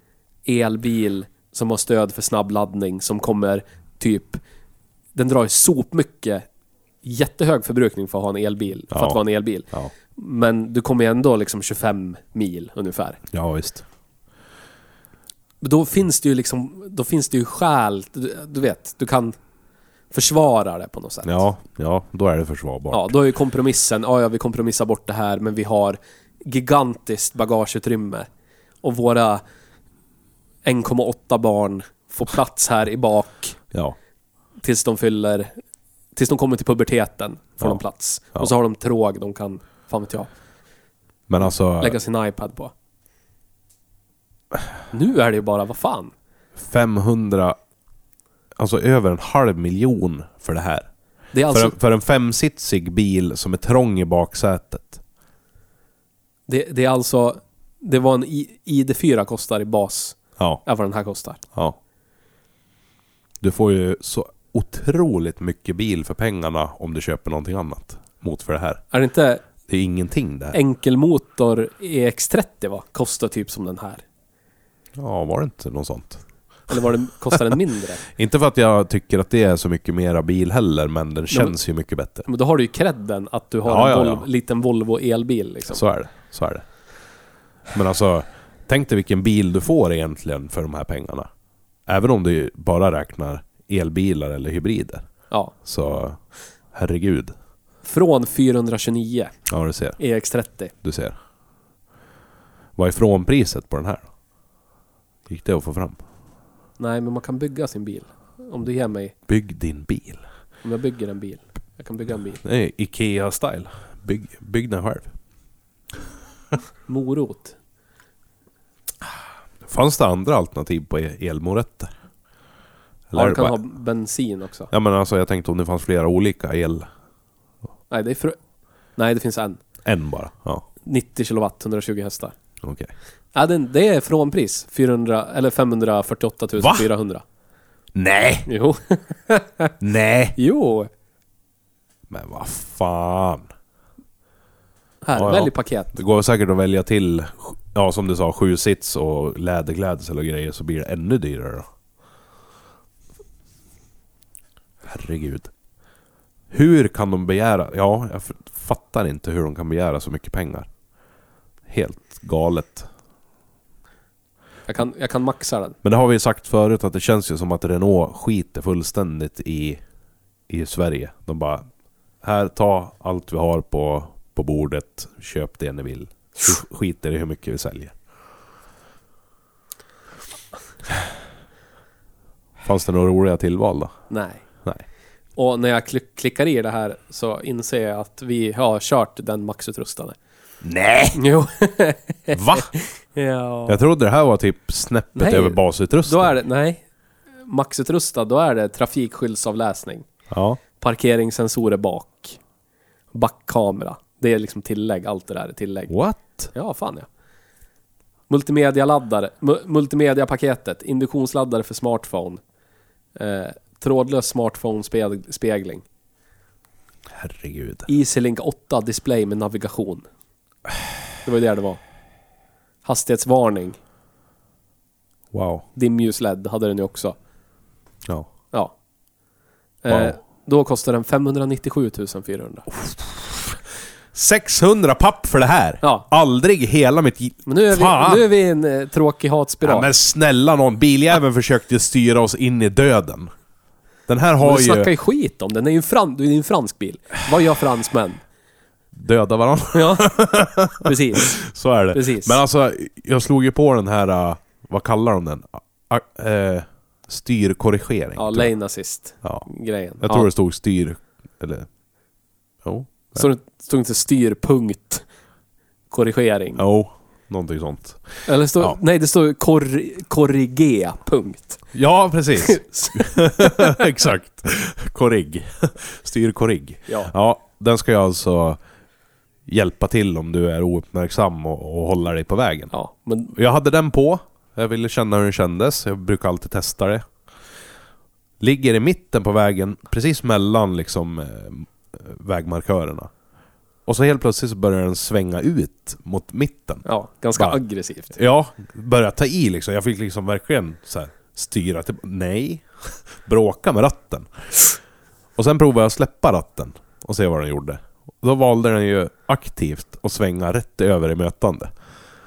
C: elbil som har stöd för snabbladdning som kommer typ... Den drar ju sopmycket jättehög förbrukning för att ha en elbil. För
B: Ja.
C: att vara en elbil.
B: Ja,
C: Men du kommer ju ändå liksom 25 mil ungefär.
B: ja visst.
C: Då finns det ju liksom, då finns det ju skäl, du, du vet, du kan försvara det på något sätt.
B: Ja, ja, då är det försvarbart.
C: Ja, då är ju kompromissen, ja, ja vi kompromissar bort det här men vi har gigantiskt bagageutrymme. Och våra 1,8 barn får plats här i bak
B: Ja,
C: tills de fyller, tills de kommer till puberteten får
B: Ja.
C: de plats.
B: Ja.
C: Och så har de tråg de kan, fan vet jag,
B: men alltså
C: lägga sin iPad på. Nu är det ju bara, vad fan?
B: 500... Alltså över en halv miljon för det här.
C: Det är
B: för,
C: alltså,
B: en, för en femsitsig bil som är trång i baksätet.
C: det, det är alltså, det var en I- ID4 kostar i bas,
B: Ja,
C: är vad den här kostar.
B: ja. Du får ju så otroligt mycket bil för pengarna om du köper någonting annat mot för det här.
C: Är det inte
B: Det är ingenting det här.
C: enkelmotor EX30 va? Kostar typ som den här.
B: Ja, var det inte något sånt?
C: Eller var det, kostar den mindre?
B: Inte för att jag tycker att det är så mycket mera bil heller, men den känns ju mycket bättre.
C: Men då har du ju credden att du har
B: Ja,
C: en
B: ja,
C: Vol-
B: ja.
C: liten Volvo elbil liksom.
B: Så är det. Så är det. Men alltså, tänk dig vilken bil du får egentligen för de här pengarna. Även om du bara räknar elbilar eller hybrider.
C: Ja.
B: Så herregud.
C: Från E 429
B: Ja, du ser.
C: EX30.
B: Du ser. Vad är frånpriset på den här då? Gick det att få fram?
C: Nej, men man kan bygga sin bil. Om du ger mig,
B: Bygg din bil.
C: om jag bygger en bil. Jag kan bygga en bil.
B: Det är Ikea-style. Bygg, bygg den själv.
C: Morot.
B: Fanns det andra alternativ på el- elmoretter? Eller
C: Ja,
B: är
C: du
B: det
C: kan
B: bara-
C: ha bensin också.
B: Ja men alltså jag tänkte om det fanns flera olika el...
C: Nej, det är fru- Nej, det finns en.
B: En bara? Ja,
C: 90 kilowatt, 120 hästar.
B: okej.
C: Ja, den, det är frånpris. 400, eller 548 400.
B: Nej!
C: Jo.
B: Nej!
C: jo.
B: Men vad fan.
C: Här,
B: Ja, ja.
C: välj paket.
B: Det går säkert att välja till, ja som du sa, sju sits och läderklädsel och grejer så blir det ännu dyrare då. Herregud. Hur kan de begära? Ja, jag f- fattar inte hur de kan begära så mycket pengar. Helt galet.
C: Jag kan, jag kan maxa den.
B: Men det har vi ju sagt förut att det känns ju som att Renault skiter fullständigt i, i Sverige. De bara, här ta allt vi har på, på bordet, köp det ni vill. Vi skiter i hur mycket vi säljer. Fanns det några roliga tillval då?
C: Nej.
B: Nej.
C: Och när jag klick, klickar i det här så inser jag att vi har kört den maxutrustade.
B: Nej!
C: Jo.
B: Va?
C: ja.
B: Jag trodde det här var typ snäppet
C: Nej,
B: över basutrustning.
C: Då är det, nej. Maxutrustad, då är det trafikskyltsavläsning.
B: Ja,
C: Parkeringssensorer bak. Backkamera. Det är liksom tillägg, allt det där är tillägg.
B: what?
C: Ja, fan ja. Multimedialaddare, mu- multimediapaketet, induktionsladdare för smartphone. Eh, trådlös smartphone-spegling.
B: Herregud.
C: Easylink 8 display med navigation. Det var ju det det var. Hastighetsvarning.
B: Wow.
C: Dimljus LED hade den ju också.
B: Ja.
C: Ja.
B: Wow.
C: Eh, då kostar den 597 400.
B: 600 papp för det här!
C: Ja.
B: Aldrig hela mitt... gi-
C: Men nu är
B: Fan!
C: vi, nu är vi i en eh, tråkig hatspiral.
B: Ja, men snälla någon, biljäveln försökte styra oss in i döden. Den här
C: Men
B: har
C: du snackar
B: ju
C: ju skit om den. Det är ju en, fran, det är ju en fransk bil. Vad gör fransmän?
B: döda varandra.
C: Ja, precis.
B: Så är det.
C: Precis.
B: Men alltså, jag slog ju på den här, uh, vad kallar de den? A- eh, styrkorrigering.
C: Ja,
B: tror jag.
C: lane assist.
B: ja.
C: Grejen.
B: Jag tror
C: ja. Mm.
B: det stod styr... Eller... Jo.
C: Så det stod inte styrpunkt korrigering.
B: Jo. Någonting sånt.
C: Eller stod,
B: Ja.
C: nej, det står kor, korrigera punkt.
B: Ja, precis. Exakt. Korrig. Styrkorrig.
C: Ja.
B: Ja, den ska ju alltså hjälpa till om du är ouppmärksam och, och hålla dig på vägen.
C: Ja, men
B: Jag hade den på. Jag ville känna hur den kändes. Jag brukar alltid testa det. Ligger i mitten på vägen, precis mellan liksom eh, vägmarkörerna. Och så helt plötsligt så börjar den svänga ut mot mitten.
C: ja, ganska
B: Bara-
C: aggressivt.
B: Ja, börjar ta i liksom. Jag fick liksom verkligen så här, styra Typ, till... Nej! Bråka med ratten. Och sen provade jag att släppa ratten. och se vad den gjorde. Då valde den ju aktivt att svänga rätt över i mötande.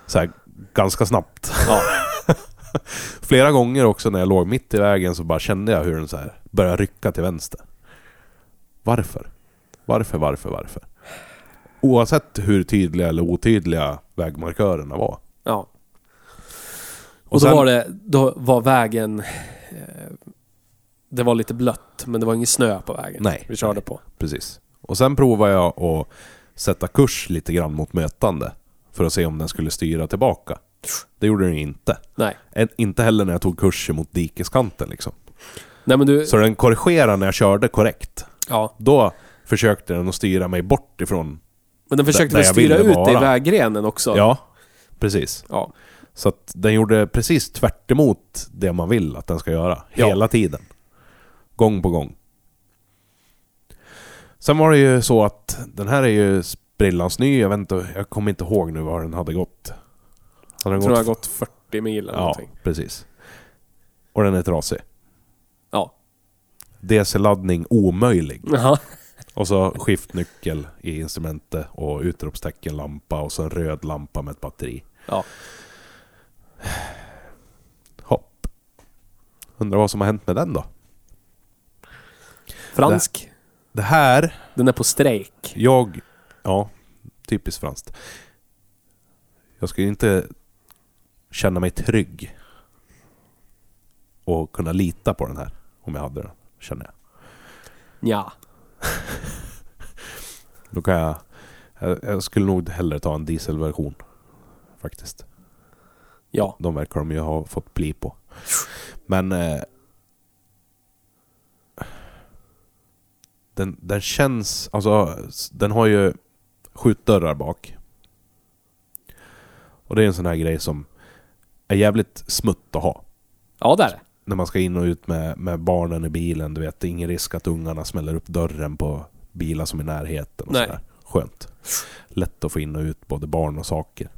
B: Så här, ganska snabbt.
C: Ja.
B: Flera gånger också när jag låg mitt i vägen så bara kände jag hur den så här började rycka till vänster. Varför? Varför, varför, varför? Oavsett hur tydliga eller otydliga vägmarkörerna var.
C: ja. Och,
B: Och
C: då
B: sen-
C: var det, då var vägen... eh, Det var lite blött, men det var ingen snö på vägen.
B: Nej.
C: Vi körde på.
B: Precis. Och sen provade jag att sätta kurs lite grann mot mötande. För att se om den skulle styra tillbaka. Det gjorde den ju inte.
C: Nej.
B: Ä- Inte heller när jag tog kurs mot dikeskanten liksom.
C: Nej men du...
B: Så den korrigerade när jag körde korrekt.
C: Ja.
B: Då försökte den att styra mig bort ifrån...
C: Men den försökte
B: Där
C: väl
B: jag
C: styra
B: ville
C: ut dig i
B: vara.
C: vägrenen också?
B: Ja, precis.
C: Ja.
B: Så att den gjorde precis tvärt emot det man vill att den ska göra.
C: Ja.
B: Hela tiden. Gång på gång. Sen var det ju så att den här är ju sprillans ny. Jag, vet inte, jag kommer inte ihåg nu var den hade gått. Hade
C: Jag
B: den
C: tror det har gått 40 mil eller
B: Ja,
C: någonting.
B: precis. Och den är trasig.
C: Ja.
B: DC-laddning omöjlig.
C: Jaha.
B: Och så skiftnyckel i instrumentet och utropstecken lampa och så en röd lampa med ett batteri.
C: Ja.
B: Hopp. Undrar vad som har hänt med den då?
C: Fransk.
B: Det här,
C: Den är på strejk.
B: jag... Ja, typiskt franskt. Jag skulle inte känna mig trygg och kunna lita på den här om jag hade den, känner jag.
C: Ja.
B: Då kan jag... jag- Jag skulle nog hellre ta en dieselversion. Faktiskt.
C: Ja.
B: De verkar de ju ha fått pli på. Men... Eh, den, den känns... Alltså, s- den har ju skjutdörrar bak. Och det är en sån här grej som är jävligt smutt att ha.
C: Ja, där.
B: När man ska in och ut med, med barnen i bilen, du vet. Det är ingen risk att ungarna smäller upp dörren på bilar som är i närheten. Och
C: Nej.
B: sådär. Skönt. Lätt att få in och ut både barn och saker.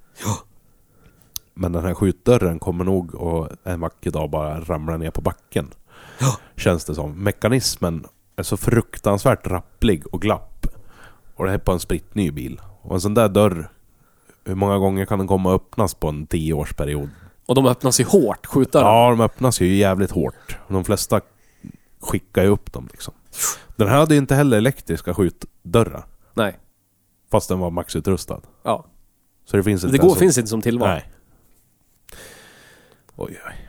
B: Men den här skjutdörren kommer nog och en vacker dag bara ramla ner på backen. Känns det som. Mekanismen är så fruktansvärt rapplig och glapp. Och det här är på en sprittny bil. Och en sån där dörr, hur många gånger kan den komma och öppnas på en tioårsperiod?
C: Och de öppnas ju hårt, skjutdörren.
B: Ja, de öppnas ju jävligt hårt. De flesta skickar ju upp dem liksom. Den här hade ju inte heller elektriska skjutdörrar.
C: Nej.
B: Fast den var maxutrustad.
C: Ja.
B: Så det finns
C: Det
B: inte
C: går,
B: ens-
C: finns inte som tillval.
B: Nej. Oj, oj.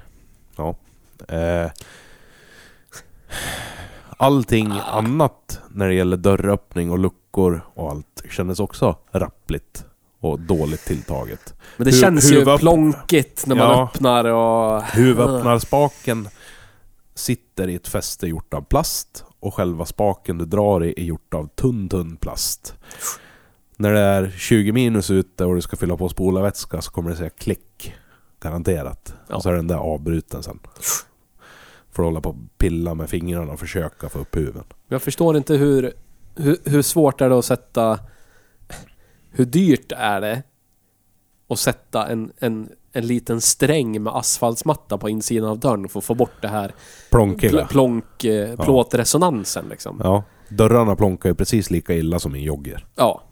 B: Ja. Eh. Allting
C: Ah.
B: annat när det gäller dörröppning och luckor och allt kändes också rappligt och dåligt tilltaget.
C: Men det
B: Hu-
C: känns ju
B: huvudöpp-
C: plonkigt när man
B: Ja.
C: öppnar och...
B: Huvudöppnarspaken sitter i ett fäste gjort av plast och själva spaken du drar i är gjort av tunn, tunn plast. När det är 20 minus ute och du ska fylla på spolarvätska så kommer det säga klick. Garanterat.
C: Ja.
B: Och så är den där avbruten sen. Får hålla på och pilla med fingrarna och försöka få upp huven.
C: Jag förstår inte hur, hur, hur svårt är det att sätta... Hur dyrt är det att sätta en, en, en liten sträng med asfaltsmatta på insidan av dörren för att få bort det här pl-
B: Plånkiga.
C: plonk, eh,
B: Ja.
C: plåtresonansen liksom.
B: Ja. Dörrarna plonkar ju precis lika illa som en jogger.
C: Ja.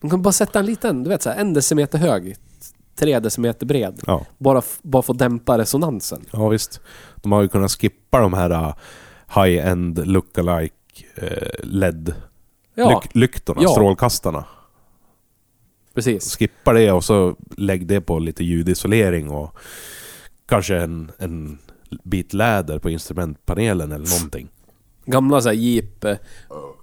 C: Man kan bara sätta en liten, du vet såhär, en decimeter hög, tre decimeter bred.
B: Ja.
C: Bara, f- bara för att dämpa resonansen.
B: Ja visst. De har ju kunnat skippa de här uh, high-end lookalike uh, LED-lyktorna,
C: Ja, Ja.
B: strålkastarna.
C: precis.
B: Skippa det och så lägg det på lite ljudisolering och kanske en, en bit läder på instrumentpanelen eller någonting.
C: Gamla såhär Jeep eh,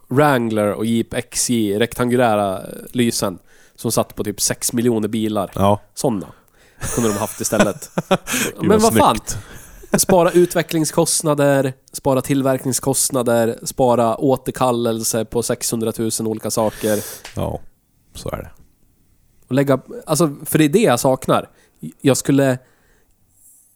C: Wrangler och Jeep XJ, rektangulära eh, lysen. Som satt på typ 6 miljoner bilar.
B: Ja,
C: Sådana. Kunde de haft istället.
B: Gud, vad
C: Men vad fan.
B: snyggt.
C: Spara utvecklingskostnader, spara tillverkningskostnader, spara återkallelse på 600 000 olika saker.
B: ja, så är det.
C: Och lägga, alltså, för det är det jag saknar. Jag skulle...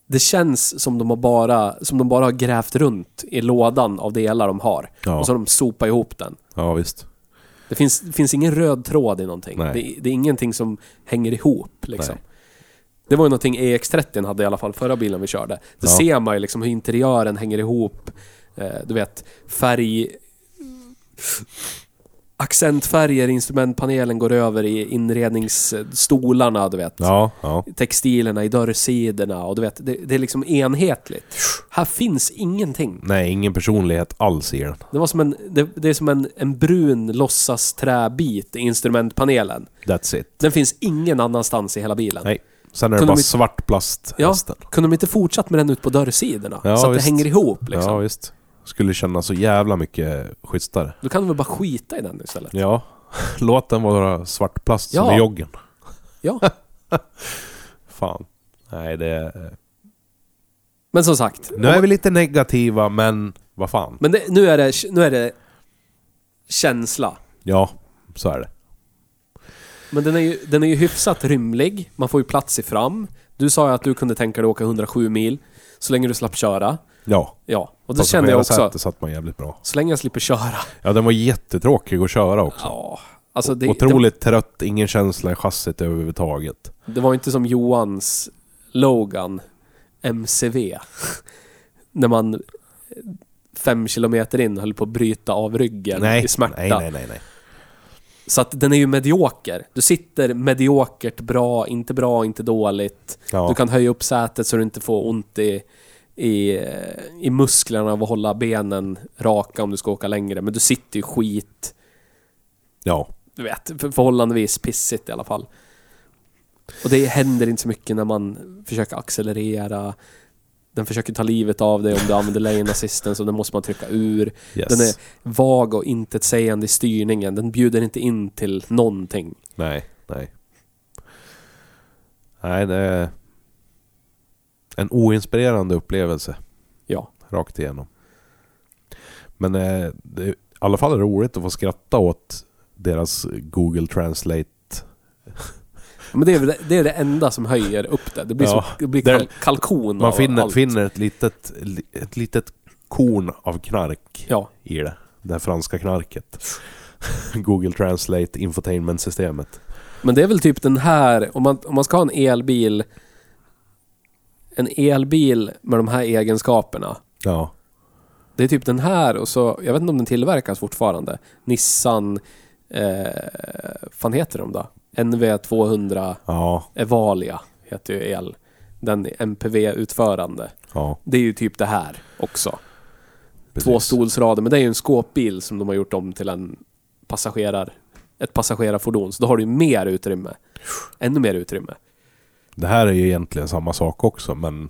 C: Det känns som de, har bara, som de bara har grävt runt i lådan av delar de har.
B: Ja.
C: Och så har de sopat ihop den.
B: Ja visst.
C: Det finns, det finns ingen röd tråd i någonting.
B: Nej.
C: Det, det är ingenting som hänger ihop. Liksom.
B: Nej.
C: Det var ju någonting EX30 hade i alla fall förra bilen vi körde. Det
B: Ja.
C: ser man ju liksom hur interiören hänger ihop. Eh, du vet, färg... accentfärger, instrumentpanelen går över i inredningsstolarna, du vet.
B: Ja, ja.
C: Textilerna i dörrsidorna och du vet, det, det är liksom enhetligt. Här finns ingenting.
B: Nej, ingen personlighet alls i den.
C: Det var som en, det, det är som en, en brun låtsasträbit i instrumentpanelen.
B: That's it.
C: Den finns ingen annanstans i hela bilen.
B: Nej. Sen är det
C: Kunde
B: bara
C: vi-
B: svart plast
C: Ja,
B: resten.
C: kunde de inte fortsatt med den ut på dörrsidorna?
B: Ja,
C: så att
B: visst.
C: det hänger ihop liksom.
B: Ja, visst. Skulle kännas så jävla mycket schysstare.
C: Då kan de väl bara skita i den istället?
B: Ja. Låt den vara svart plast som
C: Ja.
B: i joggen.
C: Ja.
B: Fan. Nej, det... är-
C: Men som sagt.
B: Nu är vi lite negativa, men vad fan.
C: Men det, nu, är det, nu är det känsla.
B: Ja, så är det.
C: Men den är, ju, den är ju hyfsat rymlig. Man får ju plats i fram. Du sa ju att du kunde tänka dig att åka 107 mil. Så länge du slapp köra.
B: Ja.
C: Ja, och det känner jag också.
B: Det satt man jävligt bra.
C: Så länge jag slipper köra.
B: Ja, den var jättetråkig att köra också.
C: Ja. Alltså det,
B: Otroligt trött, ingen känsla i chassit överhuvudtaget.
C: Det, det var inte som Johans Logan MCV. När man fem kilometer in höll på att bryta av ryggen
B: Nej,
C: i smärta.
B: nej, nej, nej. nej.
C: Så att den är ju medioker. Du sitter mediokert bra, inte bra, inte dåligt.
B: Ja.
C: Du kan höja upp sätet så du inte får ont i, i, i musklerna av att hålla benen raka om du ska åka längre. Men du sitter ju skit,
B: Ja.
C: du vet, för- förhållandevis pissigt i alla fall. Och det händer inte så mycket när man försöker accelerera. Den försöker ta livet av dig om du använder lane assistance och den måste man trycka ur.
B: Yes.
C: Den är vag och intetsägande i styrningen. Den bjuder inte in till någonting.
B: Nej, nej. Nej, det är en oinspirerande upplevelse
C: Ja.
B: rakt igenom. Men eh, det är i alla fall roligt att få skratta åt deras Google Translate.
C: Men det är, väl- det är det enda som höjer upp det. Det blir,
B: Ja,
C: som, det blir
B: där-
C: kal kalkon
B: Man
C: av
B: finner,
C: allt.
B: finner ett, litet, ett litet korn av knark
C: Ja,
B: i det. Det här franska knarket. Google Translate infotainment-systemet.
C: men det är väl typ den här, om man, om man ska ha en elbil, en elbil med de här egenskaperna.
B: Ja.
C: Det är typ den här och så, jag vet inte om den tillverkas fortfarande. Nissan, eh, fan heter de då? NV200
B: Ja.
C: Evalia heter ju el. Den MPV-utförande.
B: Ja.
C: Det är ju typ det här också.
B: precis.
C: tvåstolsrader. Men det är ju en skåpbil som de har gjort om till en passagerar, ett passagerarfordon. Så då har du ju mer utrymme. Ännu mer utrymme.
B: Det här är ju egentligen samma sak också, men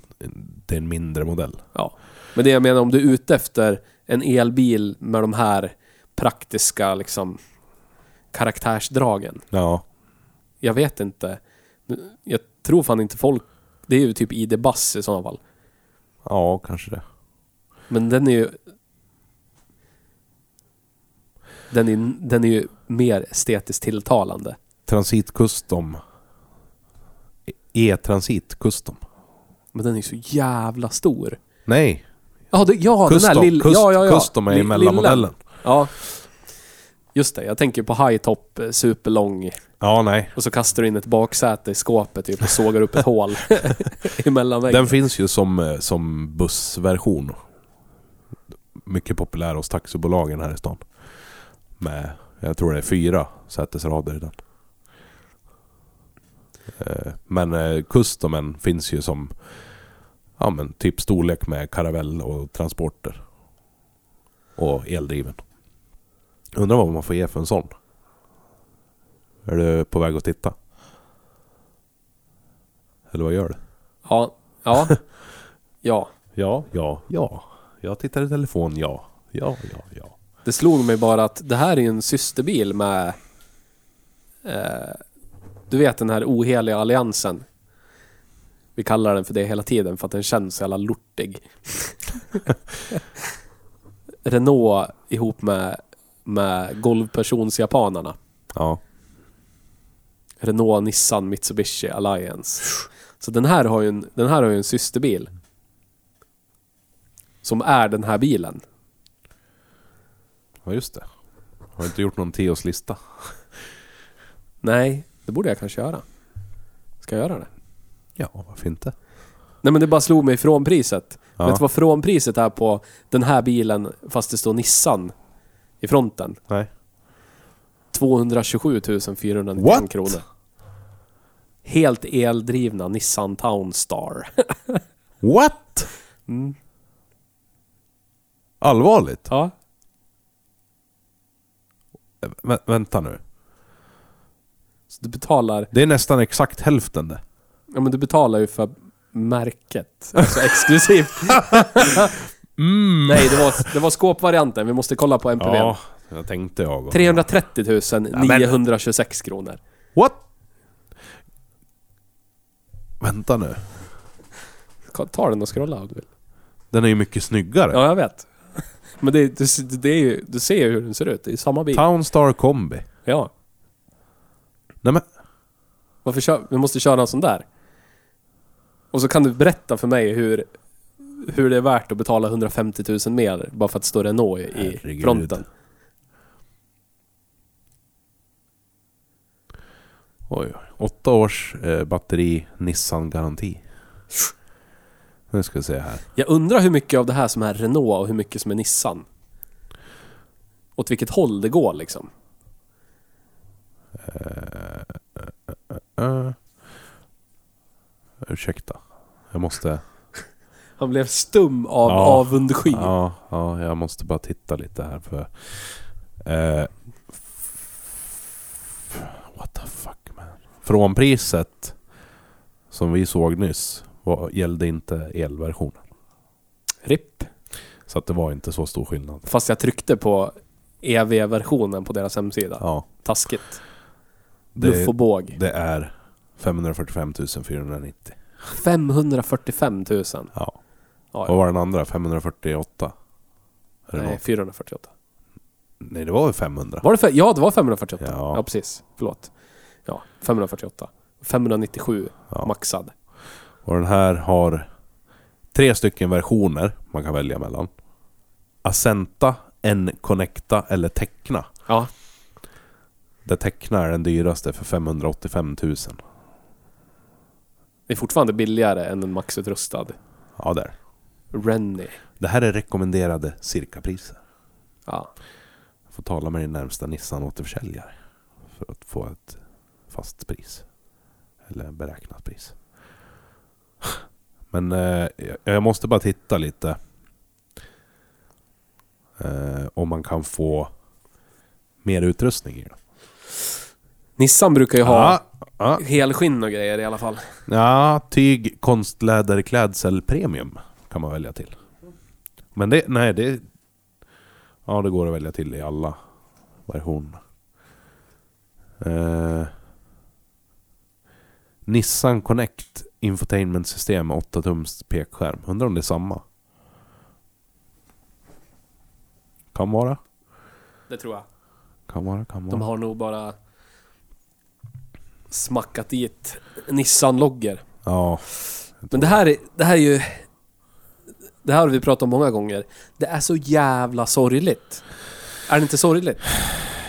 B: det är en mindre modell.
C: Ja. Men det jag menar, om du är ute efter en elbil med de här praktiska liksom, karaktärsdragen.
B: Ja.
C: Jag vet inte. Nu- Jag tror fan inte folk... Det är ju typ ID Buzz i sådana fall.
B: Ja, kanske det.
C: Men den är ju... Den är, den är ju mer estetiskt tilltalande.
B: Transit Custom. E-, E-Transit Custom.
C: Men den är ju så jävla stor.
B: Nej,
C: Ja, det, ja den
B: Custom.
C: där lilla...
B: Cust-
C: ja, ja, ja.
B: Custom är
C: Li-
B: ju mellanmodellen.
C: Ja. Just det, jag tänker på high top, eh, superlång.
B: Ja, nej.
C: Och så kastar du in ett baksäte i skåpet typ, och sågar upp ett hål emellan väggen.
B: Den finns ju som, eh, som bussversion. Mycket populär hos taxibolagen här i stan. Med, jag tror det är fyra sätesrader i den. Eh, Men eh, customen finns ju som ja, men typ storlek med karavell och transporter. Och eldriven. Undrar vad man får ge för en sån. Är du på väg att titta? Eller vad gör du?
C: Ja. Ja. Ja.
B: Ja, ja, ja. Jag tittar i telefon, ja. Ja, ja, ja.
C: Det slog mig bara att det här är ju en systerbil med... Eh, du vet den här oheliga alliansen. Vi kallar den för det hela tiden för att den känns så jävla lortig. Renault ihop med, med golvpersonsjapanerna.
B: Ja,
C: Renault, Nissan, Mitsubishi, Alliance. Så den här har ju en, den här har ju en systerbil. Som är den här bilen.
B: ja just det. Har inte gjort någon tioårslista.
C: Nej, det borde jag kanske göra. Ska jag göra det?
B: Ja, varför inte?
C: Nej men det bara slog mig frånpriset.
B: Ja.
C: Vet du vad frånpriset är på den här bilen fast det står Nissan i fronten?
B: Nej.
C: 227 491
B: What?
C: kronor. Helt eldrivna Nissan Townstar.
B: What?
C: Mm.
B: Allvarligt?
C: Ja.
B: Vä vänta nu.
C: Så du betalar...
B: Det är nästan exakt hälften det.
C: Ja men du betalar ju för märket. Alltså exklusivt. Nej, det var, det var skåpvarianten. Vi måste kolla på MPV.
B: Mm. Ja, jag tänkte jag.
C: 330 926 kronor.
B: What? Vänta nu.
C: Ka- Ta den och scrolla om du vill.
B: Den är ju mycket snyggare.
C: Ja, jag vet. Men det, det, det är ju, du ser ju hur den ser ut. Det är samma bil.
B: Townstar kombi.
C: Ja.
B: Nej men,
C: Varför kör, vi måste köra en sån där. Och så kan du berätta för mig hur, hur det är värt att betala 150 000 mer bara för att stå Renault i
B: Herregud.
C: i fronten.
B: oj, oj. Åtta års eh, batteri, Nissan-garanti. Nu ska vi se här.
C: Jag undrar hur mycket av det här som är Renault och hur mycket som är Nissan. Åt vilket håll det går liksom.
B: Uh, ursäkta. Jag måste...
C: Han blev stum av
B: Ja.
C: avundsky.
B: Ja, ja, jag måste bara titta lite här för... Eh, f- what the fuck man. Frånpriset som vi såg nyss var, gällde inte elversionen.
C: RIP.
B: Så att det var inte så stor skillnad.
C: Fast jag tryckte på EV-versionen på deras hemsida.
B: Ja,
C: Taskigt. Bluff och
B: det,
C: båg.
B: det är 545 490.
C: 545 000.
B: Ja.
C: Ja,
B: Vad var den andra? 548? Är det
C: Nej,
B: något?
C: 448.
B: Nej, det var väl 500?
C: Var det fe- ja, det var 548.
B: Ja.
C: Ja. precis. Förlåt. Ja, 548. 597
B: Ja.
C: maxad.
B: Och den här har tre stycken versioner man kan välja mellan. Ascenta, N-Connecta eller Tecna.
C: Ja.
B: Där Tecna är den dyraste för 585 000.
C: Det är fortfarande billigare än en maxutrustad
B: Ja, där.
C: Rennie.
B: Det här är rekommenderade cirkapriser.
C: Ja.
B: Jag får tala med din närmsta Nissan-återförsäljare för att få ett fast pris. Eller beräknat pris. Men eh, jag- jag måste bara titta lite. Eh, om man kan få mer utrustning i Ah, den.
C: Nissan brukar ju ha
B: Ja, ja,
C: helskinn och grejer i alla fall.
B: ja, tyg, konstläder, klädsel, premium kan man välja till. Men det, nej det... Ja, det går att välja till i alla versioner. Eh, Nissan Connect Infotainment system med 8 tums pekskärm. Undrar om det är samma? Kan vara.
C: Det tror jag.
B: Kan vara, kan vara.
C: De har nog bara smackat dit Nissan-loggor.
B: Ja.
C: Men det här, är- det här är ju... Det här har vi pratat om många gånger. Det är så jävla sorgligt. Är det inte sorgligt?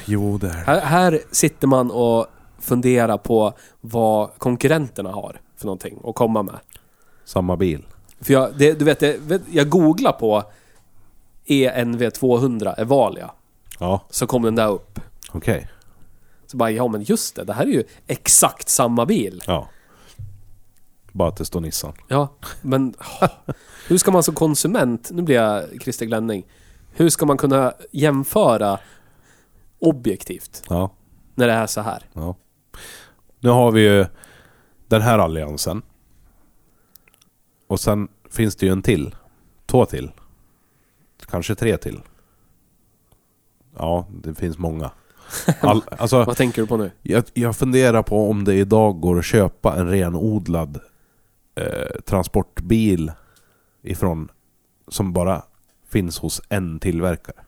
B: Jo, det är
C: Här, här sitter man och funderar på vad konkurrenterna har för någonting att komma med.
B: samma bil.
C: För jag, det, du vet, jag, vet, jag googlar på E ENV200 Evalia,
B: Ja,
C: så kom den där upp.
B: okej.
C: Så bara, ja men just det, det här är ju exakt samma bil.
B: Ja. Bara att det står Nissan.
C: Ja, men åh, hur ska man som konsument, nu blir jag Christer Glenning, hur ska man kunna jämföra objektivt
B: Ja.
C: när det är så här?
B: ja. Nu har vi ju den här alliansen. Och sen finns det ju en till. Två till. Kanske tre till. Ja, det finns många. All, alltså,
C: Vad tänker du på nu?
B: jag, jag funderar på om det idag går att köpa en renodlad eh, transportbil ifrån som bara finns hos en tillverkare.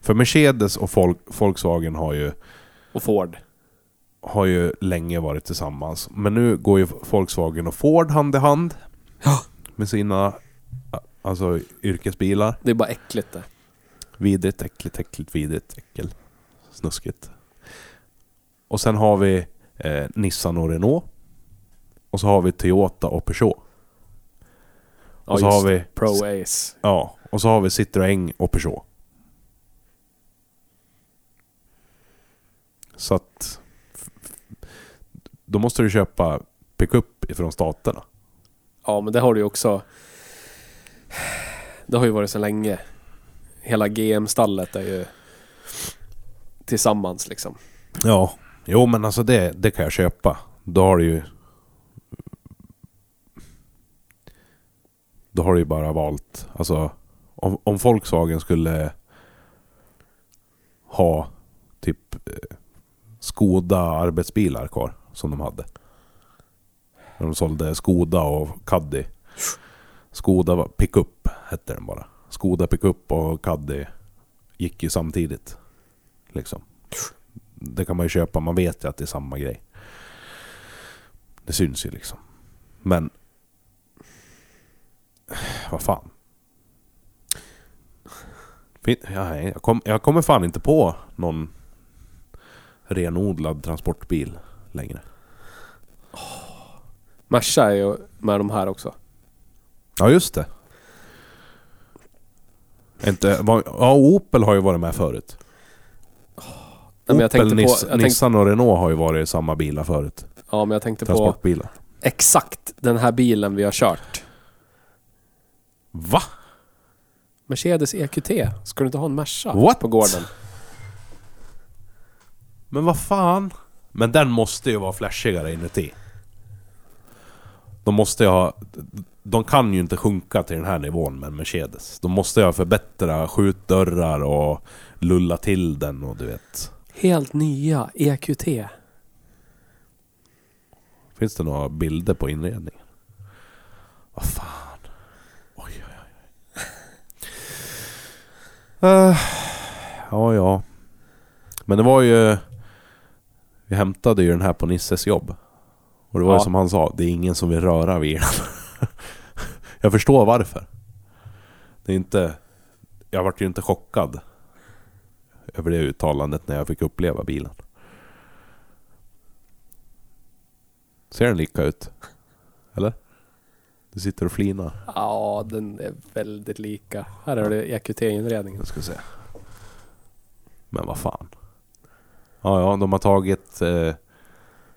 B: För Mercedes och Vol- Volkswagen har ju,
C: Och Ford?
B: har ju länge varit tillsammans. Men nu går ju Volkswagen och Ford hand i hand
C: Ja.
B: med sina alltså, yrkesbilar.
C: Det är bara äckligt det.
B: Vidrigt, äckligt, äckligt, vidrigt, äckel. Snuskigt. Och sen har vi eh, Nissan och Renault. Och så har vi Toyota och Peugeot.
C: Ja,
B: Och så
C: just
B: har
C: det.
B: vi-
C: Pro Ace.
B: Ja, och så har vi Citroën och Peugeot. Så att... f- f- Då måste du köpa pickup ifrån staterna.
C: Ja, men det har du ju också... Det har ju varit så länge. Hela GM-stallet är ju tillsammans liksom.
B: Ja. Jo, men alltså det, det kan jag köpa. Då har du ju... Då har du ju bara valt... Alltså, om, om Volkswagen skulle ha typ eh, Skoda arbetsbilar kvar som de hade. När de sålde Skoda och Caddy. Skoda var- pickup hette den bara. Skoda pickup och Caddy gick ju samtidigt. Liksom. Det kan man ju köpa, man vet ju att det är samma grej. Det syns ju liksom. Men... Vad fan. Fin- ja, nej, Jag, kom, jag kommer fan inte på någon renodlad transportbil längre.
C: Merca är ju med de här också.
B: Ja, just det. Inte, var, ja, Opel har ju varit med förut.
C: Nej, men jag
B: Opel,
C: tänkte på...
B: Nis-
C: Jag tänkte,
B: Nissan och Renault har ju varit samma bilar förut.
C: ja, men jag tänkte på
B: Transportbilar.
C: exakt den här bilen vi har kört.
B: Va?
C: Mercedes E EQT. Ska du inte ha en Merca
B: What?
C: på gården?
B: Men vad fan? Men den måste ju vara flashigare inuti. De måste ju ha... De kan ju inte sjunka till den här nivån med en Mercedes. De måste ju ha förbättra skjutdörrar och lulla till den och du vet.
C: Helt nya E EQT.
B: Finns det några bilder på inredningen? Vad fan? Oj, oj, oj. Eh, ja, ja. Men det var ju... Vi hämtade ju den här på Nisses jobb. Och det var ju
C: Ja.
B: som han sa, det är ingen som vill röra vid den. jag förstår varför. Det är inte... Jag vart ju inte chockad över det uttalandet när jag fick uppleva bilen. Ser den lika ut? Eller? Du sitter och flinar.
C: Ja, den är väldigt lika. Här har du E EQT-inredningen.
B: Jag ska se. Men vad fan. Ja, ja, de har tagit eh,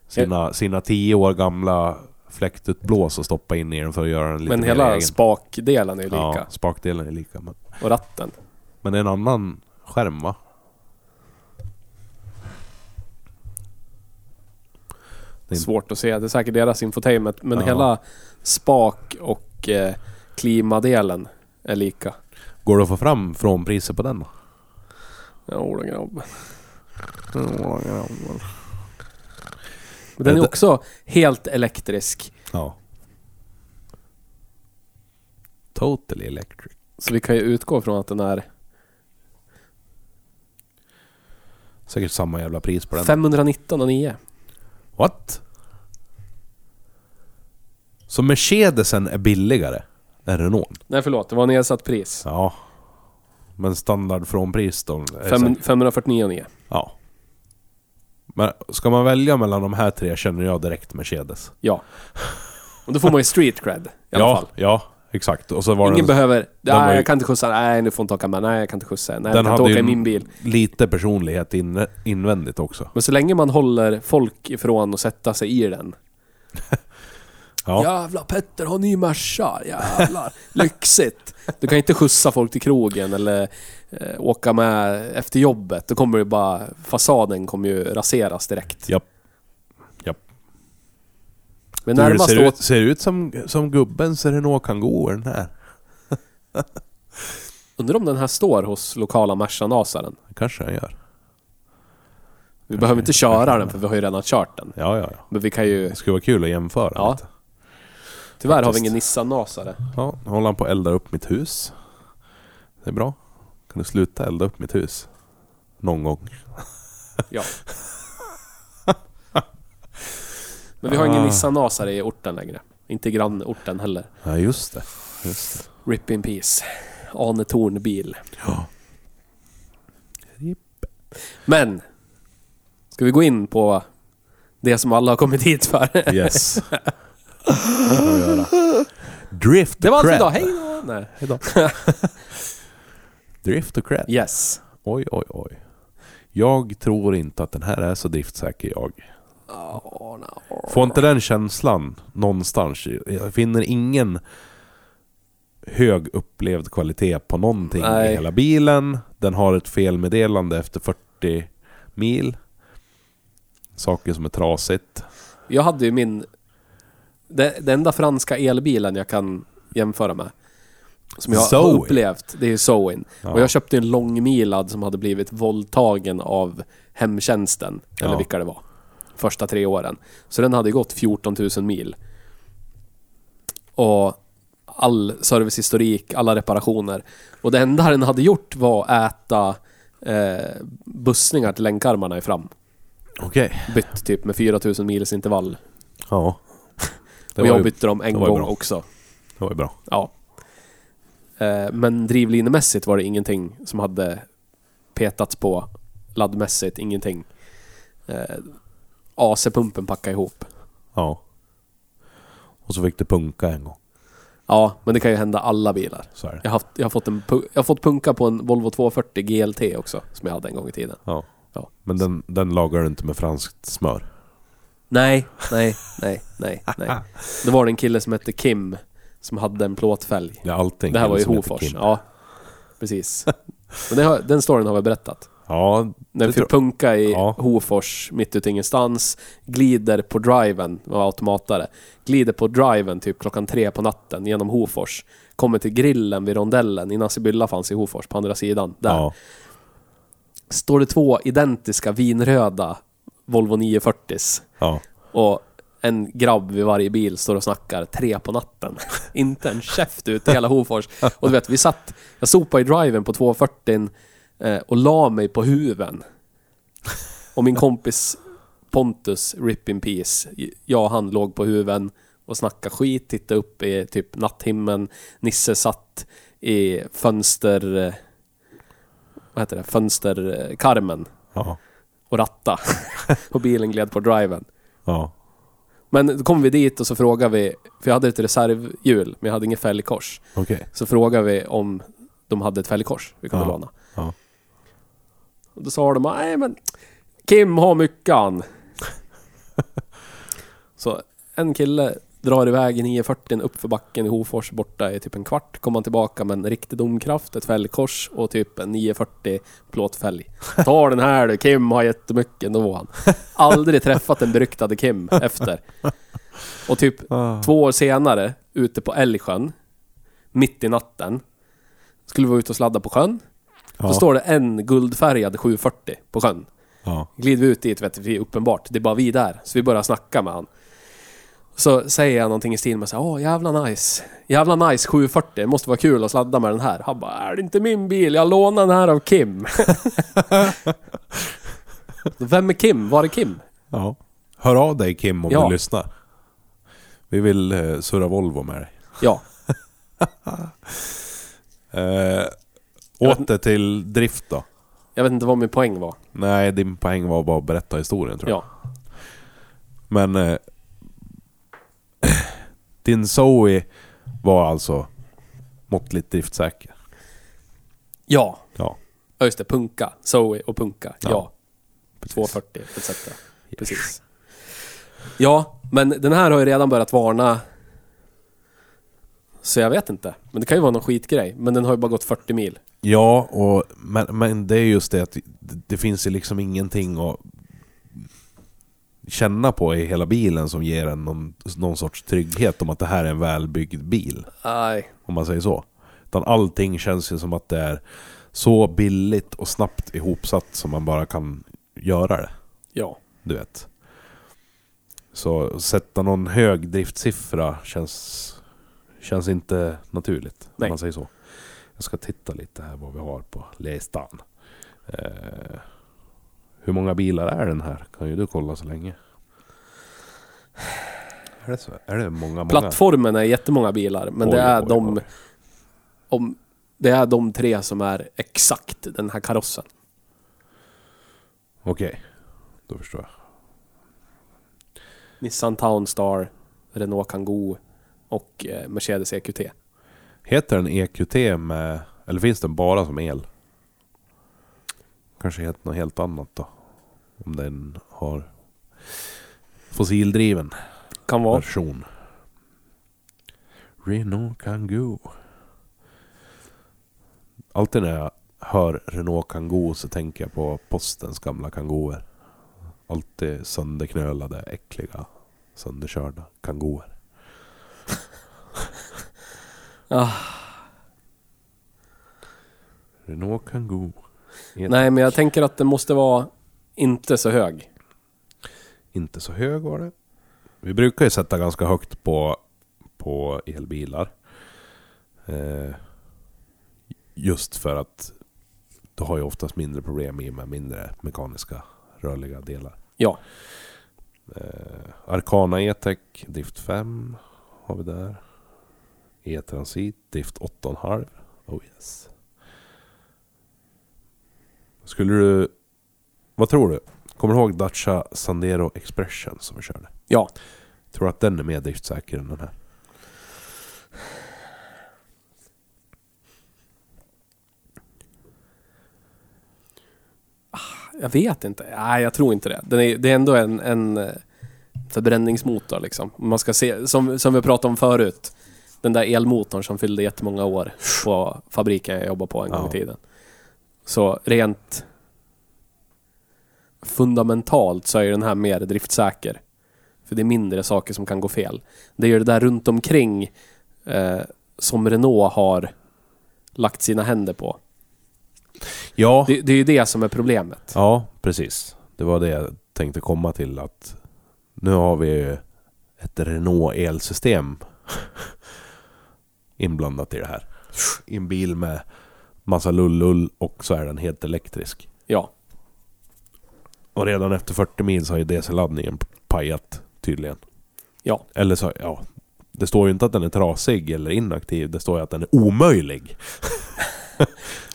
B: sina, sina tio år gamla fläktutblås och stoppat in i den för att göra den lite
C: Men
B: mer
C: hela
B: egen.
C: spakdelen är ju lika.
B: Ja, spakdelen är lika. Men,
C: Och ratten.
B: men det är en annan skärm va? Det är-
C: Svårt att se. Det är säkert deras infotainment. Men
B: Ja.
C: hela spak och eh, klimadelen är lika.
B: Går det att få fram från priset på den då?
C: Jodå grabb. Men
B: Eh,
C: Den är
B: det-
C: också helt elektrisk.
B: Ja. Totally electric.
C: Så vi kan ju utgå från att den är
B: Säkert samma jävla pris på den.
C: 519,9.
B: What? Så Mercedesen är billigare än Renault?
C: Nej förlåt, det var nedsatt pris.
B: Ja. Men standard frånpris då? är
C: Fem-
B: säkert-
C: 549,9.
B: Ja. Men ska man välja mellan de här tre känner jag direkt Mercedes.
C: Ja. Och då får man ju street cred i alla
B: ja,
C: fall.
B: ja, exakt. Och så var
C: Ingen
B: den,
C: behöver...
B: den var
C: Nej,
B: ju-
C: jag kan inte skjutsa. Nej, nu får inte åka med. Nej, jag kan inte skjutsa. Nej, jag kan inte
B: hade
C: åka i
B: ju
C: min bil.
B: lite personlighet in, invändigt också.
C: Men så länge man håller folk ifrån att sätta sig i den.
B: Ja.
C: Jävla Petter har ny Merca, jävlar. Lyxigt. Du kan inte skjutsa folk till krogen eller eh, åka med efter jobbet. Då kommer det bara... Fasaden kommer ju raseras direkt.
B: Japp. Japp.
C: Men
B: Du, det
C: närmast
B: ser, ut,
C: åt...
B: ser ut som, som gubbens Renault Kangoo den här.
C: Undrar om den här står hos lokala Mercanasaren.
B: kanske den gör.
C: Vi behöver
B: Mm.
C: inte köra den för vi har ju redan kört den.
B: Ja, ja, ja.
C: Men vi kan ju...
B: Det skulle vara kul att jämföra
C: Ja.
B: lite.
C: Tyvärr har vi
B: faktiskt.
C: ingen Nissan-nasare.
B: Ja, nu håller han på att elda upp mitt hus. Det är bra. Kan du sluta elda upp mitt hus? Någon gång.
C: Ja. Men vi har ingen
B: Ah.
C: Nissan-nasare i orten längre. Inte i grannorten heller.
B: Ja, just det. Just
C: Rip in peace. Ane Tornbil.
B: det. Ja.
C: Men! Ska vi gå in på det som alla har kommit hit för?
B: Yes. Det får vi göra. Drift
C: Det var
B: och
C: allt för
B: cred.
C: idag, hej då! Nej.
B: Drift och cred.
C: Yes.
B: Oj, oj, oj. Jag tror inte att den här är så driftsäker jag.
C: Ja, no.
B: Får inte den känslan någonstans. Jag finner ingen hög upplevd kvalitet på någonting
C: Nej.
B: i hela bilen. Den har ett felmeddelande efter 40 mil. Saker som är trasigt.
C: Jag hade ju min... Det, den enda franska elbilen jag kan jämföra med. Som jag har
B: Zoe.
C: upplevt, det är ju Zoen.
B: Ja.
C: Och jag köpte en långmilad som hade blivit våldtagen av hemtjänsten. Eller
B: Ja.
C: vilka det var. Första tre åren. Så den hade ju gått 14 000 mil. Och all servicehistorik, alla reparationer. Och det enda den hade gjort var att äta eh, bussningar till länkarmarna i fram.
B: Okej.
C: Bytt typ med 4000 mils intervall
B: Ja. Det
C: och
B: var,
C: jag
B: ju,
C: bytte dem en
B: det var ju
C: gång
B: bra.
C: också.
B: det var ju bra.
C: Ja. Eh, Men drivlinemässigt var det ingenting som hade petats på. Laddmässigt, ingenting. Eh, AC-pumpen packade ihop.
B: Ja. Och så fick det punka en gång.
C: Ja, men det kan ju hända alla bilar.
B: Så är det.
C: Jag har, haft, jag har, fått, en, pu- jag har fått punka på en Volvo 240 GLT också, som jag hade en gång i tiden.
B: Ja.
C: Ja.
B: Men den, den lagar du inte med franskt smör.
C: Nej, nej, nej, nej, nej. Då var det en kille som hette Kim, som hade en plåtfälg.
B: Det är allting.
C: Det här var ju
B: som heter
C: Hofors.
B: Kim.
C: Ja, precis. Men det har, den storyn har vi berättat.
B: Ja,
C: När vi
B: det tror-
C: fick punka i
B: Ja.
C: Hofors, mitt ute i ingenstans. Glider på driven, var automatare. Glider på driven typ klockan tre på natten genom Hofors. Kommer till grillen vid rondellen innan Sibylla fanns i Hofors på andra sidan. Där.
B: Ja.
C: Står det två identiska vinröda Volvo 940s.
B: ja.
C: Och en grabb vid varje bil står och snackar tre på natten. Inte en käft ut i hela Hofors. Och du vet, vi satt... Jag sopade i driven på 240 eh, och la mig på huven. Och min kompis Pontus, RIP in peace, jag och han låg på huven och snackade skit, tittade upp i typ natthimlen. Nisse satt i fönster... eh, Vad heter det? Fönsterkarmen
B: Ja.
C: och ratta. och bilen gled på driven.
B: Ja.
C: Men då kom vi dit och så frågade vi, för jag hade ett reservhjul, men jag hade inget fälgkors.
B: Okej.
C: Så frågade vi om de hade ett fälgkors vi kunde
B: Ja.
C: låna.
B: Ja.
C: Och då sa de, nej men Kim har myckan. så en kille drar iväg i 940 uppför backen i Hofors borta i typ en kvart. Kommer han tillbaka med en riktig domkraft, ett fälgkors och typ en 940 plåtfälg. Ta den här du, Kim har jättemycket ändå han. Aldrig träffat den beryktade Kim efter. Och typ
B: Ah.
C: Två år senare, ute på Älgsjön, mitt i natten, skulle vi vara ute och sladda på sjön. Då
B: Ja.
C: står det en guldfärgad 740 på sjön.
B: Ja.
C: Glider vi ut dit, vet vi uppenbart, det är bara vi där. Så vi börjar snacka med han. Så säger jag någonting i stil med så här, åh jävla nice. Jävla nice 740, det måste vara kul att sladda med den här. Han bara, är det inte min bil? Jag lånade den här av Kim. Vem är Kim? Var är Kim?
B: ja. Hör av dig Kim om
C: Ja.
B: du lyssnar. Vi vill eh, surra Volvo med dig.
C: Ja,
B: Eh,
C: Jag-
B: åter till drift då.
C: jag vet inte vad min poäng var.
B: Nej, din poäng var bara att berätta historien tror jag.
C: Ja,
B: Men... Eh, din Zoe var alltså måttligt driftsäker.
C: ja.
B: Ja.
C: Ja just det, punka. Zoe och punka. Ja.
B: Ja,
C: 240 etc. Precis. Ja, men den här har ju redan börjat varna. Så jag vet inte. Men det kan ju vara någon skitgrej. Men den har ju bara gått 40 mil.
B: Ja, och, men, men det är just det att det, det finns ju liksom ingenting att känna på i hela bilen som ger en någon, någon sorts trygghet om att det här är en välbyggd bil.
C: Nej.
B: Om man säger så. Utan allting känns ju som att det är så billigt och snabbt ihopsatt som man bara kan göra det.
C: Ja.
B: Du vet. Så sätta någon hög driftsiffra känns, känns inte naturligt.
C: Nej.
B: Om man säger så. Jag ska titta lite här vad vi har på listan. Eh, hur många bilar är den här? Kan ju du kolla så länge. Är det, så? Är det många, många?
C: Plattformen är jättemånga bilar. Men det
B: Oj,
C: är
B: oj,
C: de...
B: oj.
C: Om, det är de tre som är exakt den här karossen.
B: Okej, då förstår jag.
C: Nissan Townstar, Renault Kangoo och eh, Mercedes EQT.
B: E Heter den EQT med... Eller finns den bara som el? Kanske heter något helt annat då. Om den har fossildriven
C: Kan vara.
B: version. Renault Kangoo. Alltid när jag hör Renault Kangoo så tänker jag på postens gamla kangooer. Alltid sönderknölade, äckliga, sönderkörda kangooer.
C: Ah.
B: Renault Kangoo.
C: Nej, men jag tänker att den måste vara inte så hög.
B: Inte så hög var det. Vi brukar ju sätta ganska högt på, på elbilar. Eh, just för att du har ju oftast mindre problem i och med mindre mekaniska rörliga delar.
C: Ja.
B: Eh, Arcana E-Tech drift 5 har vi där. E-Transit drift 8,5. Oh yes. Skulle du... Vad tror du? Kommer du ihåg Dacia Sandero Expression som vi körde?
C: Ja.
B: Tror du att den är mer driftsäker än den här?
C: Jag vet inte. Nej, jag tror inte det. Den är, det är ändå en, en eh, förbränningsmotor liksom. Man ska se, som, som vi pratade om förut. Den där elmotorn som fyllde jättemånga år på fabriken jag jobbade på en gång
B: Ja.
C: i tiden. Så rent fundamentalt så är ju den här mer driftsäker. För det är mindre saker som kan gå fel. Det är ju det där runt omkring eh, som Renault har lagt sina händer på.
B: Ja,
C: Det, det är ju det som är problemet.
B: ja precis. Det var det jag tänkte komma till att nu har vi ju ett Renault elsystem inblandat i det här. I en bil med massa lullull och så är den helt elektrisk.
C: Ja.
B: Och redan efter 40 mil så har ju DC-laddningen pajat tydligen.
C: Ja.
B: Eller så, ja. Det står ju inte att den är trasig eller inaktiv. Det står ju att den är omöjlig.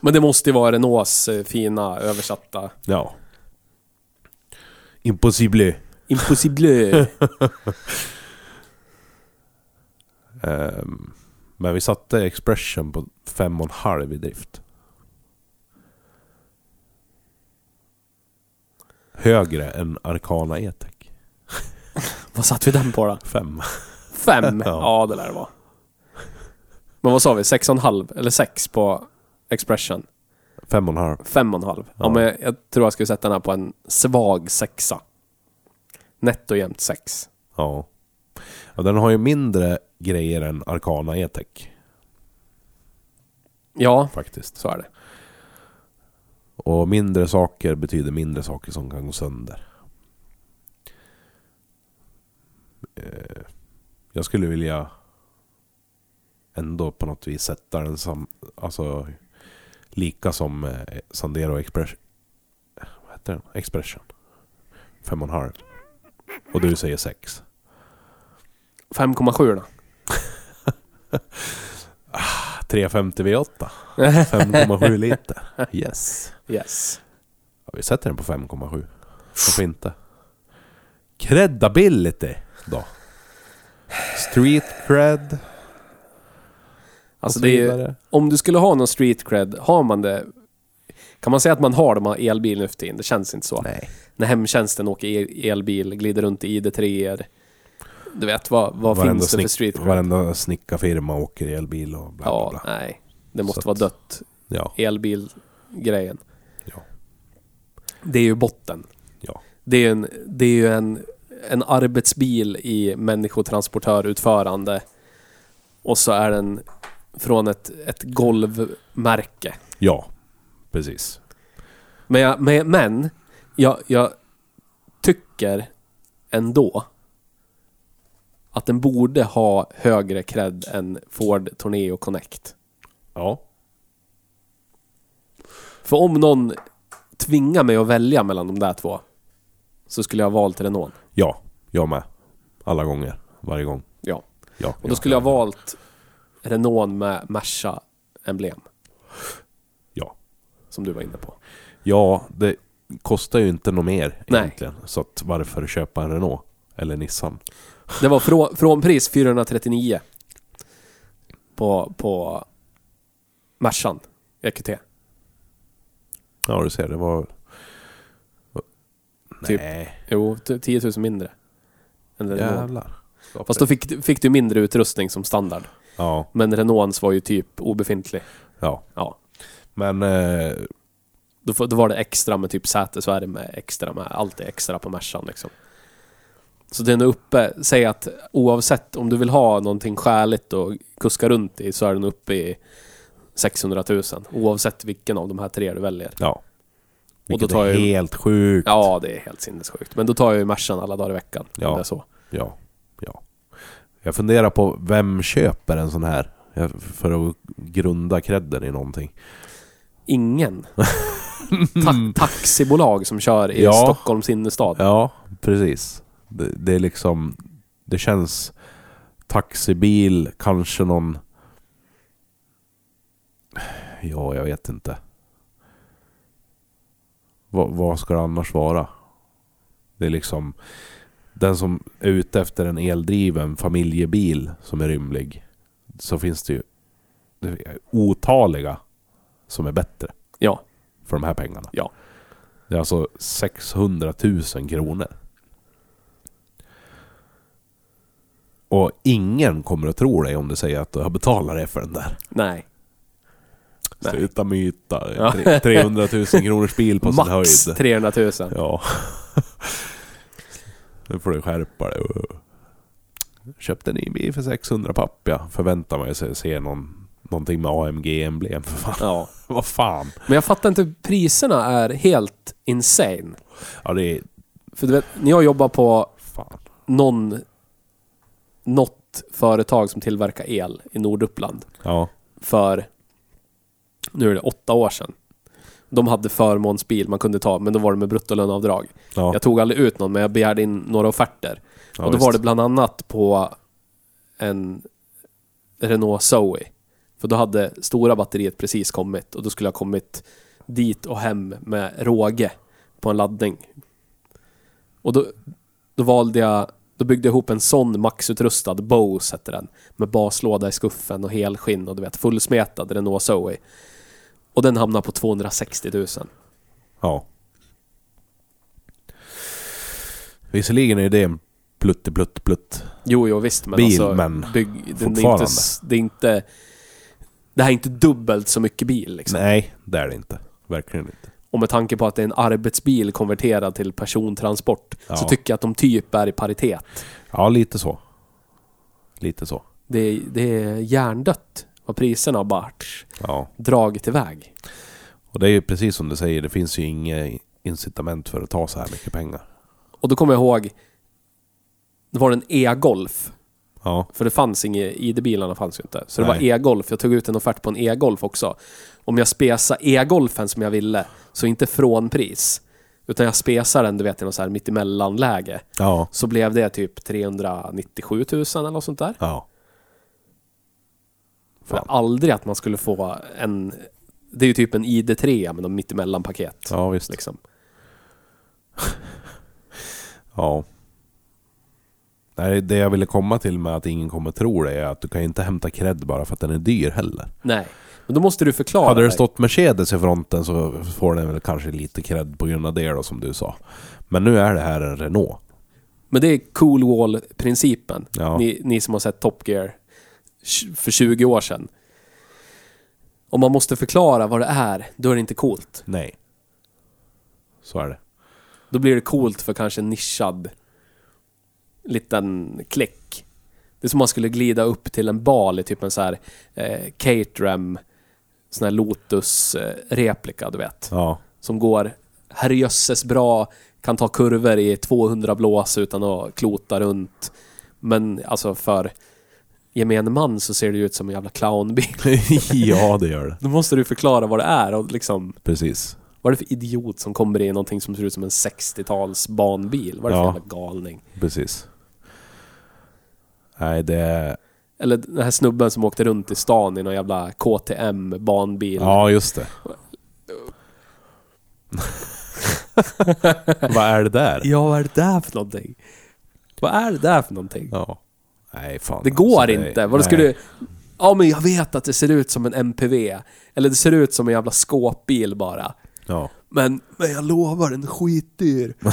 C: Men det måste ju vara Renaults eh, fina översatta...
B: Ja. Impossible.
C: Impossible.
B: Ehm, men vi satte Expression på 5,5 i drift. Högre än Arcana E-Tech.
C: vad satt vi den på då?
B: 5.
C: Fem?
B: Ja.
C: ja, det lär det vara. Men vad sa vi? Sex och en halv? Eller sex på Expression?
B: 5,5.
C: Fem och en halv? Ja,
B: Ja.
C: men jag, jag tror jag skulle sätta den här på en svag sexa. Nätt och jämnt sex.
B: Ja. ja. Den har ju mindre grejer än Arcana E-Tech
C: Ja,
B: faktiskt.
C: så är det.
B: Och mindre saker betyder mindre saker som kan gå sönder. Eh, Jag skulle vilja ändå på något vis sätta den som, alltså lika som eh, Sandero Express, eh, vad heter den? Expression. Fem och en halv. Och du säger sex.
C: 5,7 då?
B: 350 V8. 5,7 liter. Yes.
C: Yes.
B: Ja, vi sätter den på 5,7. Varför inte? Credability då? Street cred?
C: Alltså
B: och så
C: det är ju...
B: vidare.
C: Om du skulle ha någon street cred, har man det... Kan man säga att man har de här elbilen nu för tiden? Det känns inte så.
B: Nej.
C: när hemtjänsten åker el- elbil, glider runt i ID3 Du vet, vad, vad
B: Varenda
C: finns det för
B: snick-
C: street cred?
B: Varenda snickarfirma åker elbil och bla bla
C: Ja,
B: bla.
C: nej. Det måste
B: Så
C: vara
B: att-
C: dött.
B: Ja.
C: Elbilgrejen.
B: Ja.
C: Det är ju botten.
B: ja.
C: Det är ju en, det är ju en, en arbetsbil i människotransportörutförande. Och så är den från ett, ett golvmärke.
B: Ja. Precis.
C: Men jag, men, men jag, jag tycker ändå att den borde ha högre cred än Ford Torneo Connect.
B: Ja.
C: För om någon tvingar mig att välja mellan de där två så skulle jag ha valt Renault.
B: Ja. Jag med. Alla gånger. Varje gång.
C: Ja.
B: Ja.
C: Och då skulle jag ha valt Renault med Merca-emblem
B: Ja.
C: som du var inne på.
B: Ja, det kostar ju inte något mer
C: Nej.
B: egentligen. Så att varför köpa en Renault? Eller Nissan?
C: Det var frå, från pris 439 på, på Mercan E EQT.
B: Ja, du ser. Det var
C: Typ.
B: Nej,
C: Jo, t- 10 000 mindre. Än Renault.
B: jävlar. Stopp
C: Fast då
B: det.
C: fick, fick du mindre utrustning som standard.
B: Ja,
C: Men Renaults var ju typ obefintlig.
B: ja.
C: Ja.
B: Men... Eh,
C: Då, får- då var det extra med typ säte, så är det med extra med. Allt är extra på Mercan liksom. Så den är uppe, säg att oavsett om du vill ha någonting skäligt och kuska runt i så är den uppe i 600 000. Oavsett vilken av de här tre du väljer.
B: ja. Vilket
C: då tar
B: är
C: jag ju-
B: helt sjukt.
C: Ja, det är helt sinnessjukt. Men då tar jag ju Mercan alla dagar i veckan.
B: Ja.
C: om Det är så.
B: Ja, ja. Jag funderar på vem köper en sån här? Jag- För att grunda credden i någonting.
C: Ingen. Ta- taxibolag som kör
B: Mm.
C: i
B: Ja.
C: Stockholms innerstad.
B: Ja, precis. Det, det är liksom... Det känns taxibil, kanske någon... Ja, jag vet inte. Vad- vad ska det annars vara? Det är liksom... Den som är ute efter en eldriven familjebil som är rymlig så finns det ju det är otaliga som är bättre
C: Ja.
B: för de här pengarna.
C: Ja.
B: Det är alltså 600 000 kronor. Och ingen kommer att tro dig om du säger att du har betalat det för den där.
C: Nej. Nej.
B: Sluta myta.
C: Ja.
B: Tre- 300 000 kronors bil på sin
C: Max
B: höjd.
C: 300 000.
B: Ja. nu får du skärpa dig. Köpte en ny bil för 600 papp ja. Förväntar mig att se någon, någonting med AMG-emblem för fan.
C: Ja.
B: Vad fan.
C: Men jag fattar inte, priserna är helt insane.
B: Ja det är...
C: För du vet, när jag jobbar på
B: Fan.
C: någon... Något företag som tillverkar el i Norduppland
B: Ja.
C: för... Nu är det åtta år sedan. De hade förmånsbil man kunde ta, men då var det med bruttolöneavdrag.
B: ja.
C: Jag tog aldrig ut någon, men jag begärde in några offerter.
B: ja,
C: och då
B: visst.
C: var det bland annat på en Renault Zoe. För då hade stora batteriet precis kommit och då skulle jag ha kommit dit och hem med råge på en laddning. Och då, då valde jag, då byggde jag ihop en sån maxutrustad Bose heter den. Med baslåda i skuffen och helskinn och du vet fullsmetad Renault Zoe. Och den hamnade på 260 000.
B: Ja. Visserligen är det en plutt plutt plutt.
C: Jo, jo visst, men
B: Bil,
C: alltså...
B: men
C: bygg, den är
B: fortfarande.
C: inte, s- det är inte... Det här är inte dubbelt så mycket bil liksom.
B: Nej, det är det inte. Verkligen inte.
C: Och med tanke på att det är en arbetsbil konverterad till persontransport
B: Ja.
C: så tycker jag att de typ är i paritet.
B: Ja, lite så. Lite så.
C: Det är, det är hjärndött vad priserna har bara tsch,
B: Ja.
C: dragit iväg.
B: Och det är ju precis som du säger, det finns ju inget incitament för att ta så här mycket pengar.
C: Och då kommer jag ihåg, det var en e-golf.
B: Ja.
C: För det fanns inga, ID-bilarna fanns ju inte. Så det
B: Nej.
C: var e-golf. Jag tog ut en offert på en e-golf också. Om jag spesar e-golfen som jag ville, så inte från pris. Utan jag spesar den, du vet, i något så här mittemellanläge.
B: Ja.
C: Så blev det typ 397 000 eller något sånt där.
B: Ja.
C: För
B: Fan.
C: aldrig att man skulle få en... Det är ju typ en ID3 med de mittemellan-paket.
B: Ja, visst.
C: Liksom.
B: Ja. Nej, det jag ville komma till med att ingen kommer tro det är att du kan ju inte hämta cred bara för att den är dyr heller.
C: Nej. Men då måste du förklara.
B: Hade det
C: dig.
B: stått Mercedes i fronten så får den väl kanske lite cred på grund av det då som du sa. Men nu är det här en Renault.
C: Men det är cool wall-principen.
B: Ja.
C: Ni, ni som har sett Top Gear tj- för 20 år sedan. Om man måste förklara vad det är, då är det inte coolt.
B: Nej. Så är det.
C: Då blir det coolt för kanske en nischad liten klick. Det är som om man skulle glida upp till en bal i typ en så här eh, Caterham, sån här Lotus-replika, du vet.
B: Ja.
C: Som går herrejösses bra, kan ta kurvor i 200 blås utan att klota runt. Men alltså för gemene man så ser det ju ut som en jävla clownbil.
B: ja, det gör det.
C: Då måste du förklara vad det är och liksom,
B: Precis.
C: vad är det för idiot som kommer i någonting som ser ut som en 60-tals barnbil? Vad är det
B: Ja.
C: för jävla galning?
B: Precis. Nej, det är...
C: Eller den här snubben som åkte runt i stan i någon jävla KTM barnbil.
B: Ja, just det. Vad är det där?
C: Ja, vad är det där för någonting? Vad är det där för någonting?
B: Ja. Nej, fan.
C: Det går
B: alltså,
C: inte. Vad du skulle... Ja, men jag vet att det ser ut som en MPV. Eller det ser ut som en jävla skåpbil bara.
B: Ja.
C: Men, men jag lovar, den är skitdyr.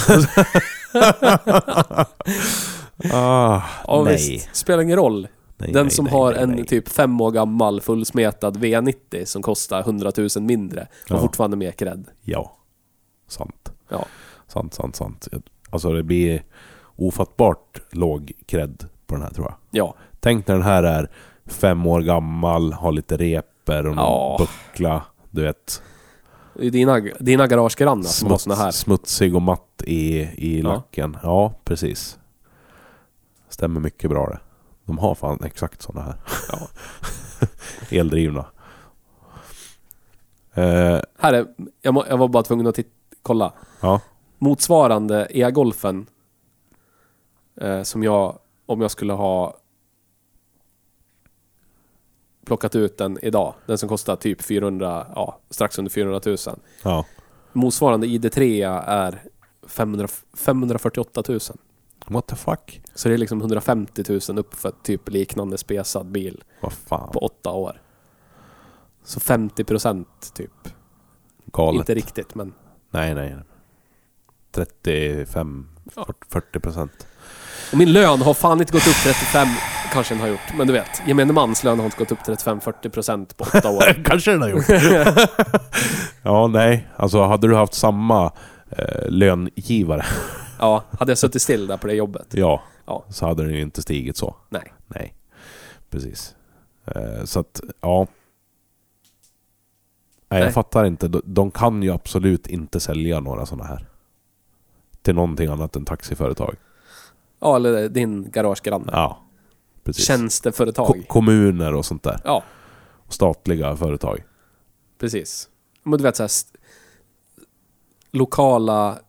B: Ah,
C: Ja,
B: nej.
C: visst. Spelar ingen roll.
B: nej.
C: Den
B: nej,
C: som
B: nej,
C: har
B: nej,
C: en
B: nej.
C: typ fem år gammal fullsmetad V90 som kostar 100 000 mindre och
B: Ja.
C: fortfarande mer cred.
B: Ja. Sant.
C: Ja.
B: Sant, sant, sant. Jag- Alltså det blir ofattbart låg cred på den här tror jag.
C: Ja.
B: Tänk när den här är fem år gammal, har lite reper och någon
C: Ja.
B: buckla. Du vet,
C: Det är Dina, dina garagegrannar som har
B: smuts,
C: såna här.
B: smutsig och matt i, i
C: Ja.
B: lacken. Ja, precis. Stämmer mycket bra det. De har fan exakt såna här. Eldrivna. Eh,
C: här är, jag, må, jag var bara tvungen att titta, kolla.
B: ja,
C: Motsvarande e-golfen eh, som jag, om jag skulle ha plockat ut den idag. Den som kostar typ 400, ja, strax under 400 000.
B: ja.
C: Motsvarande ID3 är 500, 548 000.
B: What the fuck?
C: Så det är liksom 150 000 upp för typ liknande spesad bil
B: Vad fan.
C: på åtta år. Så 50 procent typ.
B: Galet.
C: Inte riktigt men.
B: Nej, nej. 35,
C: Ja.
B: 40 procent.
C: Och min lön har fan inte gått upp 35, kanske den har gjort, men du vet. Gemene mans lön har inte gått upp 35-40 procent på åtta år.
B: Kanske den har gjort. ja, nej. Alltså hade du haft samma eh, löngivare,
C: Ja, hade jag suttit still där på det jobbet?
B: ja,
C: Ja.
B: så hade den ju inte stigit så.
C: Nej.
B: Nej, precis. Eh, så att, ja. Nej,
C: Nej.
B: jag fattar inte. De, de kan ju absolut inte sälja några sådana här. Till någonting annat än taxiföretag.
C: Ja, eller din garagegranne.
B: Ja, precis. Ko-
C: Tjänsteföretag.
B: kommuner och sånt där.
C: Ja,
B: Statliga företag.
C: precis. Men du vet såhär... St- lokala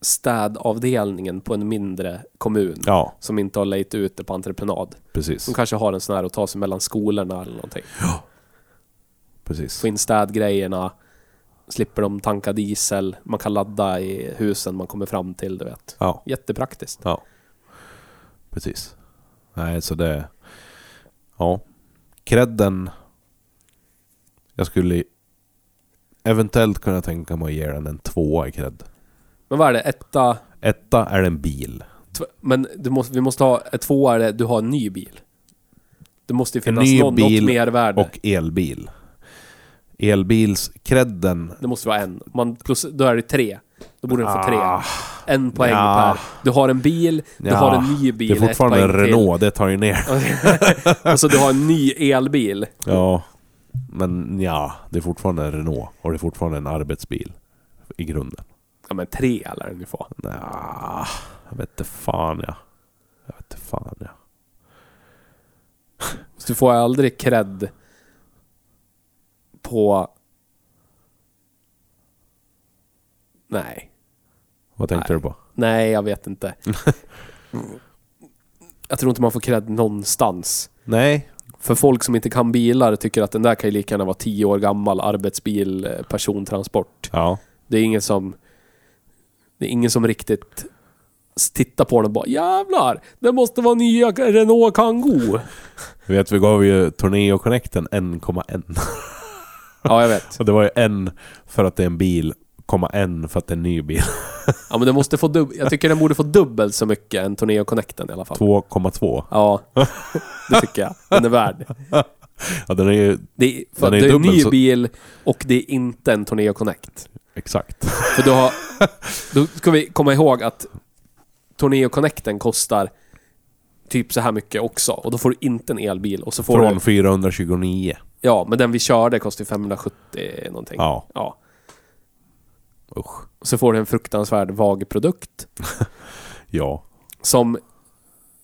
C: städavdelningen på en mindre kommun.
B: Ja,
C: Som inte har lejt ut det på entreprenad.
B: precis.
C: Som kanske har en sån här att ta sig mellan skolorna eller någonting.
B: precis.
C: Få in städgrejerna. Slipper de tanka diesel. Man kan ladda i husen man kommer fram till, du vet.
B: Ja.
C: Jättepraktiskt.
B: Ja. Precis. Nej, så det... Ja. Credden... Jag skulle eventuellt kunna tänka mig att ge den en tvåa i cred.
C: Men vad är det? Etta...
B: Etta är en bil.
C: Tv- Men du måste, vi måste ha... ett Två är det, du har en ny bil. Det måste ju
B: En
C: finnas
B: ny
C: någon, något
B: bil
C: mervärde.
B: Och elbil. Elbils... Credden...
C: Det måste vara en. Man, plus, då är det tre. Då borde den få tre.
B: Ah.
C: En poäng
B: Ja.
C: per. Du har en bil, du
B: Ja.
C: har en ny bil,
B: Det är fortfarande
C: ett
B: en
C: poäng till.
B: Renault, det tar ju ner.
C: Och så du har en ny elbil.
B: Ja. Men ja, det är fortfarande en Renault. Och det är fortfarande en arbetsbil. I grunden.
C: Ja men tre lär den ju få.
B: Nja, jag vet inte fan ja. Jag vet inte fan ja.
C: Så du får aldrig cred på... Nej.
B: Vad tänkte du på?
C: Nej, jag vet inte. jag tror inte man får cred någonstans.
B: Nej.
C: För folk som inte kan bilar tycker att den där kan ju lika gärna vara 10 år gammal arbetsbil, eh, persontransport.
B: Ja.
C: Det är ingen som... Det är ingen som riktigt s- tittar på den och bara Jävlar! Det måste vara nya Renault Kangoo!
B: Vi vet, vi gav ju Torneo Connecten 1,1.
C: Ja, jag vet.
B: Så det var ju en för att det är en bil, komma en för att det är en ny bil.
C: Ja men den måste få dubb- Jag tycker den borde få dubbelt så mycket än Torneo Connecten i alla fall.
B: 2,2.
C: Ja, det tycker jag. Den är värd.
B: Ja, den är ju
C: Det är, för
B: Den är
C: det är en
B: dubbel
C: ny
B: så-
C: bil och det är inte en Torneo Connect.
B: exakt.
C: För då, har, då ska vi komma ihåg att Torneo Connecten kostar typ så här mycket också. Och då får du inte en elbil. Och så får
B: Från
C: du...
B: 429.
C: Ja, men den vi körde kostar 570 någonting.
B: Ja,
C: ja.
B: usch.
C: Och Så får du en fruktansvärd vag produkt.
B: Ja.
C: som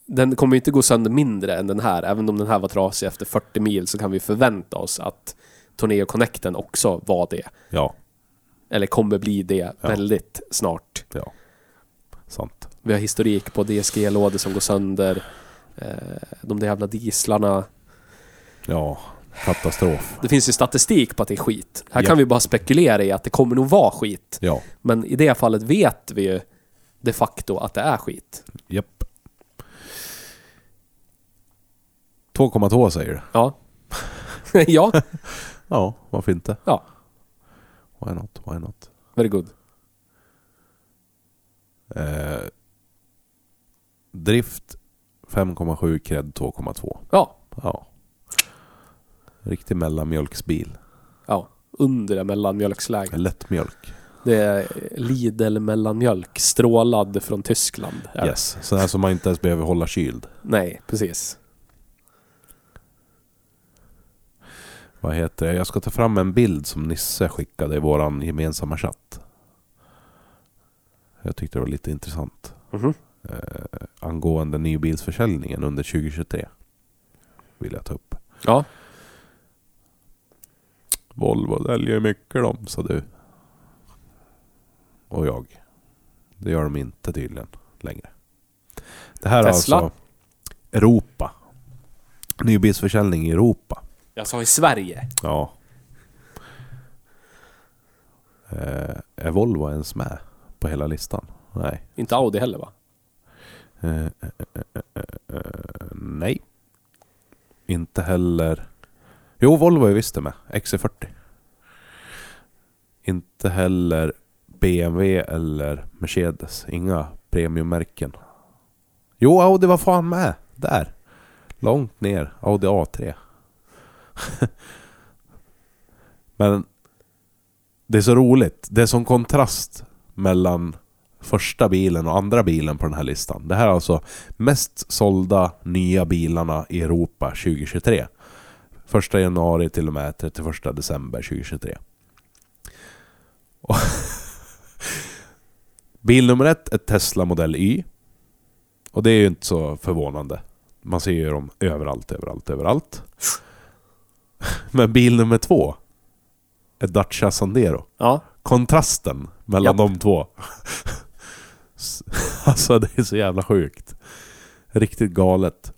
C: den kommer ju inte gå sönder mindre än den här. Även om den här var trasig efter 40 mil så kan vi förvänta oss att Torneo Connecten också var det.
B: Ja.
C: Eller kommer bli det väldigt snart.
B: Ja. Sant.
C: Vi har historik på DSG-lådor som går sönder. Eh, de där jävla dieslarna.
B: Ja. Katastrof.
C: Det finns ju statistik på att det är skit. Här
B: Ja.
C: kan vi bara spekulera i att det kommer nog vara skit.
B: Ja.
C: Men i det fallet vet vi ju de facto att det är skit.
B: Japp. 2,2 säger du?
C: Ja. ja.
B: Ja, varför inte?
C: Ja.
B: Why not? Why not?
C: Very good.
B: Eh, drift 5,7, cred 2,2.
C: Ja,
B: Ja. Riktig mellanmjölksbil.
C: ja. Undre mellanmjölksläget.
B: Lättmjölk.
C: Det är Lidl mellanmjölk, strålad från Tyskland. är det.
B: Yes. Sån här som man inte ens behöver hålla kyld.
C: Nej, precis.
B: Vad heter det? Jag ska ta fram en bild som Nisse skickade i våran gemensamma chatt. Jag tyckte det var lite intressant.
C: Mhm.
B: Eh, angående nybilsförsäljningen under 2023. Vill jag ta upp.
C: Ja.
B: Volvo säljer mycket de, sa du. Och jag. Det gör de inte tydligen längre. Det här är
C: Tesla.
B: alltså Europa. Nybilsförsäljning i Europa.
C: Jag sa i Sverige.
B: Ja. Eh, är Volvo ens med på hela listan? Nej.
C: Inte Audi heller va?
B: Eh, eh, eh, eh, eh, eh, nej. Inte heller... Jo, Volvo är visst det med. XC40. Inte heller BMW eller Mercedes. Inga premiummärken. Jo, Audi var fan med. Där. Långt ner. Audi A3. Men det är så roligt. Det är som kontrast mellan första bilen och andra bilen på den här listan. Det här är alltså mest sålda nya bilarna i Europa 2023. 1 januari till och med 31 december 2023. Och Bil nummer ett är Tesla Model Y. Och det är ju inte så förvånande. Man ser ju dem överallt, överallt, överallt. Men bil nummer två är Dacia Sandero
C: Ja.
B: kontrasten mellan
C: Japp.
B: de två. S- alltså det är så jävla sjukt. Riktigt galet.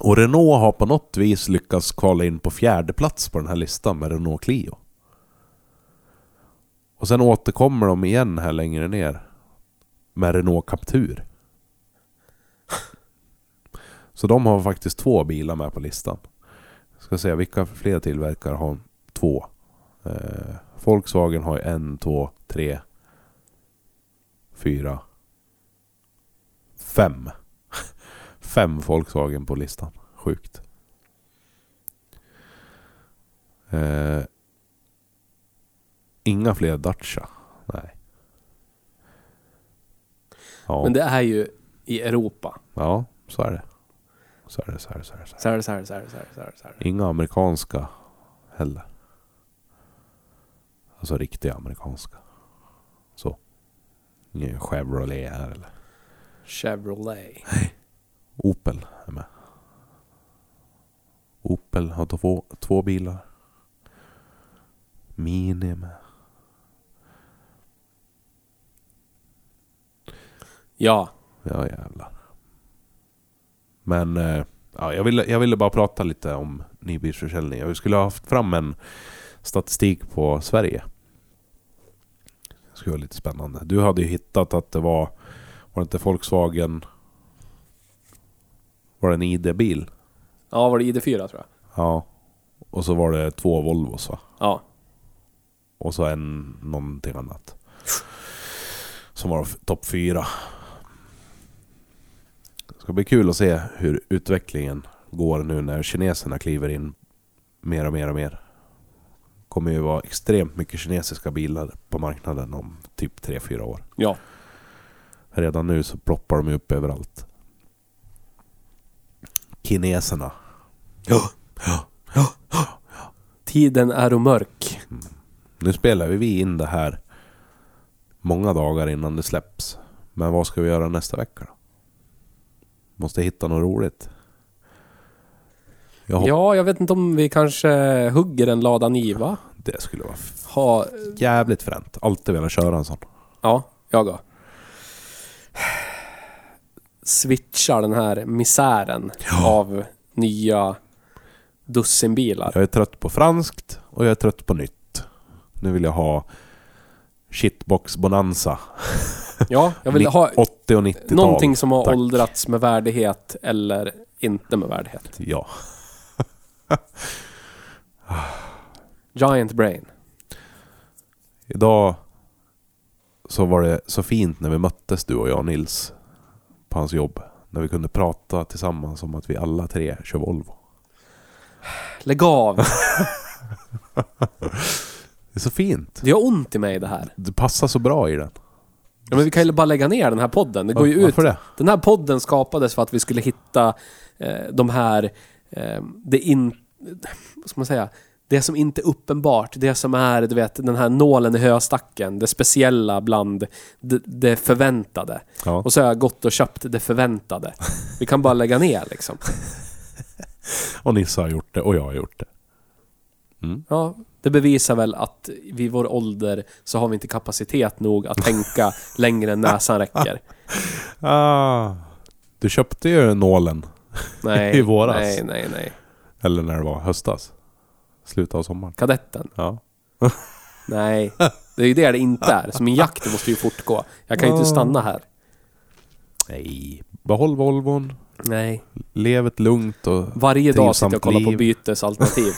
B: Och Renault har på något vis lyckats kvala in på fjärde plats på den här listan med Renault Clio. Och sen återkommer de igen här längre ner med Renault Captur. Så de har faktiskt två bilar med på listan. Ska se vilka fler tillverkare har två. Eh, Volkswagen har ju en, två, tre, fyra, fem. Fem Volkswagen på listan. Sjukt. Eh, inga fler Dacia. Nej. Ja,
C: Men det är ju i Europa.
B: ja, så är det. Så är det, så är det, så är det. Så är det.
C: Så här, så här, så här, så här, så här, så här.
B: Inga amerikanska heller. Alltså riktiga amerikanska. Så. Ingen Chevrolet här eller.
C: Chevrolet.
B: Opel är med. Opel har två, två bilar. Mini är med.
C: Ja.
B: Ja jävlar. Men eh, ja, jag, ville, jag ville bara prata lite om nybilsförsäljning. Jag skulle ha haft fram en statistik på Sverige. Det skulle vara lite spännande. Du hade ju hittat att det var... Var det inte Volkswagen... Var det en ID-bil?
C: Ja, var det ID4 tror jag.
B: Ja. Och så var det två Volvos va?
C: Ja.
B: Och så en någonting annat. Som var f- topp fyra. Det ska bli kul att se hur utvecklingen går nu när kineserna kliver in mer och mer och mer. kommer ju vara extremt mycket kinesiska bilar på marknaden om typ 3-4 år.
C: Ja.
B: Redan nu så ploppar de ju upp överallt. Kineserna.
C: Tiden är mörk.
B: Nu spelar vi in det här många dagar innan det släpps. Men vad ska vi göra nästa vecka då? Måste hitta något roligt. Jag hop-
C: Ja, jag vet inte om vi kanske hugger en lada niva.
B: Det skulle vara f-
C: Ha...
B: jävligt fränt. Alltid velat köra en sån.
C: Ja, jag går. Switchar den här misären av nya dussinbilar.
B: Jag är trött på franskt och jag är trött på nytt. Nu vill jag ha shitbox bonanza.
C: Ja, jag vill ha
B: 80 och 90-tal.
C: någonting som har
B: Tack.
C: åldrats med värdighet eller inte med värdighet.
B: Ja.
C: Giant brain.
B: Idag så var det så fint när vi möttes du och jag Nils på hans jobb. När vi kunde prata tillsammans om att vi alla tre kör Volvo.
C: Lägg av!
B: Det är så fint.
C: Det gör ont i mig det här.
B: Det passar så bra i den.
C: Ja, men vi kan ju bara lägga ner den här podden. Det går ju ut.
B: Varför det?
C: Den här podden skapades för att vi skulle hitta eh, de här... Eh, det in... Vad ska man säga? Det som inte är uppenbart. Det som är, du vet, den här nålen i höstacken. Det speciella bland det, det förväntade.
B: Ja.
C: Och så har jag gått och köpt det förväntade. Vi kan bara lägga ner liksom.
B: Och Nisse har gjort det och jag har gjort det. Mm.
C: Ja, det bevisar väl att vid vår ålder så har vi inte kapacitet nog att tänka längre än näsan räcker.
B: Ah, du köpte ju nålen.
C: Nej,
B: I våras.
C: Nej, nej, nej.
B: Eller när det var höstas. Slutet av sommaren.
C: Kadetten?
B: Ja.
C: Nej. Det är ju det det inte är. Så min jakt måste ju fortgå. Jag kan ju inte stanna här.
B: Nej. Behåll Volvon.
C: Nej.
B: Lev ett lugnt och...
C: Varje dag sitter jag
B: Trivsamt
C: och kollar på
B: liv.
C: bytesalternativ.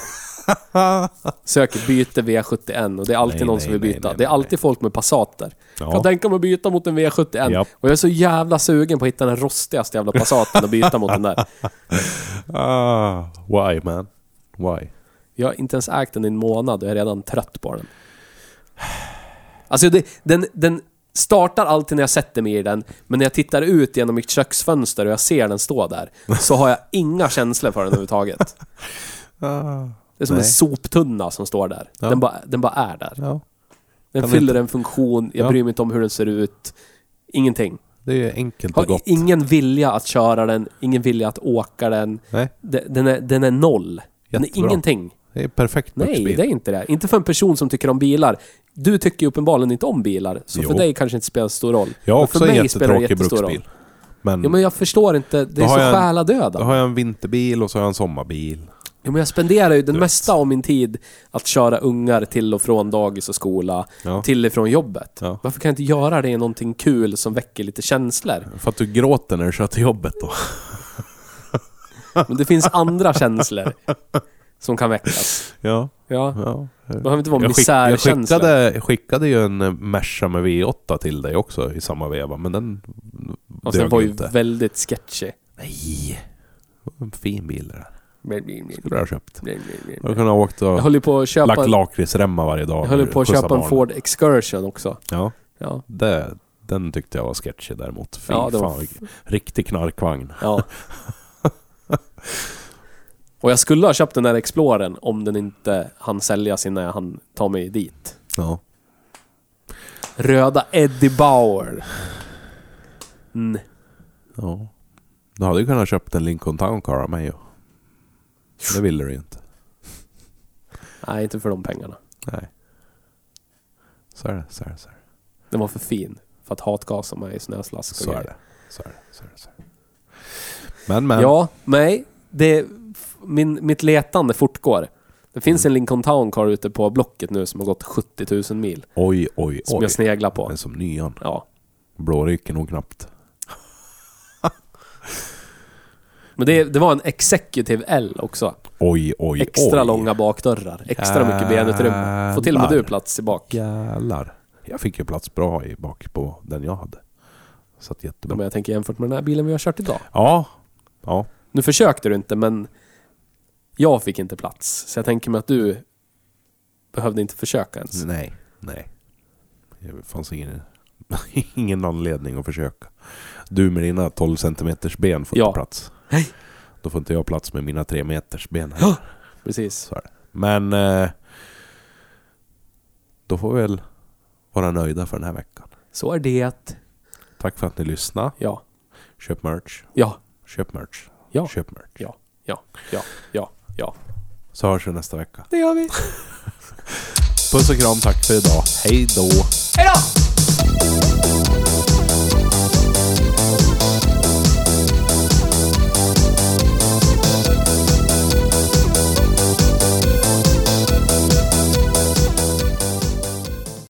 C: Söker byte V71 och det är alltid
B: Nej,
C: någon
B: nej,
C: som vill
B: nej,
C: byta.
B: nej,
C: det är
B: nej.
C: alltid folk med Passater. Kan
B: Ja.
C: tänka mig att byta mot en V71.
B: Japp.
C: Och jag är så jävla sugen på att hitta den rostigaste jävla Passaten och byta mot den där.
B: Ah, why man? Why?
C: Jag har inte ens ägt den i en månad och jag är redan trött på den. Alltså det, den, den startar alltid när jag sätter mig i den, men när jag tittar ut genom mitt köksfönster och jag ser den stå där, så har jag inga känslor för den överhuvudtaget.
B: Ah,
C: Det är som
B: Nej.
C: en soptunna som står där.
B: Ja.
C: Den, bara, den bara är där.
B: ja.
C: Den
B: Kan
C: fyller en funktion, jag
B: Ja.
C: bryr mig inte om hur den ser ut. Ingenting.
B: Det är ju enkelt och
C: Har
B: gott.
C: ingen vilja att köra den, ingen vilja att åka den.
B: Nej,
C: De- Den är, den är noll. Den är
B: Jättebra.
C: ingenting.
B: det är perfekt
C: Nej,
B: bruksbil.
C: det är inte det. Inte för en person som tycker om bilar. Du tycker ju uppenbarligen inte om bilar, så
B: Jo.
C: för dig kanske det inte spelar så stor roll.
B: Jag har
C: Men för
B: också en
C: mig spelar det
B: jättetråkig
C: jättestor roll.
B: bruksbil. Men,
C: Ja, men jag förstår inte. Det
B: Då
C: är
B: har
C: så
B: jag en-
C: själadöda.
B: då har jag en vinterbil och så har jag en sommarbil.
C: Ja, men jag spenderar ju den
B: vet.
C: mesta av min tid att köra ungar till och från dagis och skola,
B: Ja.
C: till och från jobbet.
B: Ja.
C: Varför kan jag inte göra det i någonting kul som väcker lite känslor?
B: För att du gråter när du kör till jobbet då.
C: Men det finns andra känslor som kan väckas.
B: Ja,
C: Ja,
B: ja.
C: det behöver inte vara
B: Jag, skick, jag
C: misärskänsla.
B: skickade, jag skickade ju en eh, Merca med V8 till dig också i samma veva, men den
C: Och
B: dög
C: den var ju
B: inte.
C: väldigt sketchy.
B: Nej. Det var En fin bil det där. Skulle du ha köpt. Du
C: Jag
B: kunde ha åkt och
C: håller ju på att köpa...
B: lagt lakritsremmar varje dag.
C: Jag höll
B: när du
C: på att
B: skjutsade
C: köpa en
B: barnen.
C: Ford Excursion också.
B: Ja,
C: Ja.
B: det, den tyckte jag var sketchy däremot. Fy
C: Ja, det var
B: fan, vilken riktig knarkvagn.
C: ja. Och jag skulle ha köpt den där Explorern om den inte hann säljas innan jag hann ta mig dit.
B: Ja.
C: Röda Eddie Bauer. Mm.
B: ja. Du hade ju kunnat köpt en Lincoln Town Car av mig. ju. Det ville du ju inte.
C: Nej, inte för de pengarna.
B: Nej. Så är det, så är det, så är det.
C: Den var för fin för att hatgasa mig i snöslask och
B: Så är
C: grejer.
B: det. Så är det, så är det, så är det. Men, men.
C: Ja, nej. Det, f- min, mitt letande fortgår. Det
B: Mm.
C: finns en Lincoln Town Car ute på Blocket nu som har gått 70 000 mil.
B: Oj, oj,
C: Som
B: oj.
C: jag sneglar på.
B: Men som nyan.
C: Ja.
B: Blå ryker nog knappt.
C: Men det, det var en Executive L också.
B: Oj, oj,
C: Extra
B: oj.
C: långa bakdörrar, extra mycket benutrymme. Får till och med
B: Jävlar.
C: du plats i bak.
B: Jävlar. Jag fick ju plats bra i bak på den jag hade. Så att
C: Ja,
B: jättebra.
C: men jag tänker jämfört med den här bilen vi har kört idag.
B: Ja. Ja.
C: Nu försökte du inte, men jag fick inte plats. Så jag tänker mig att du behövde inte försöka ens.
B: Nej. Nej. Det fanns ingen, ingen anledning att försöka. Du med dina 12 centimeters ben får
C: Ja.
B: inte plats. Då får inte jag plats med mina 3 meters ben. här.
C: Precis.
B: Så är det. Men eh, då får vi väl vara nöjda för den här veckan.
C: Så är det.
B: Tack för att ni lyssnade.
C: Ja.
B: Köp merch.
C: Ja.
B: Köp merch.
C: Ja.
B: Köp merch.
C: Ja. Ja. Ja. Ja. Ja.
B: Så hörs vi nästa vecka.
C: Det gör vi.
B: Puss och kram, tack för idag. Hej då!
C: Hej då!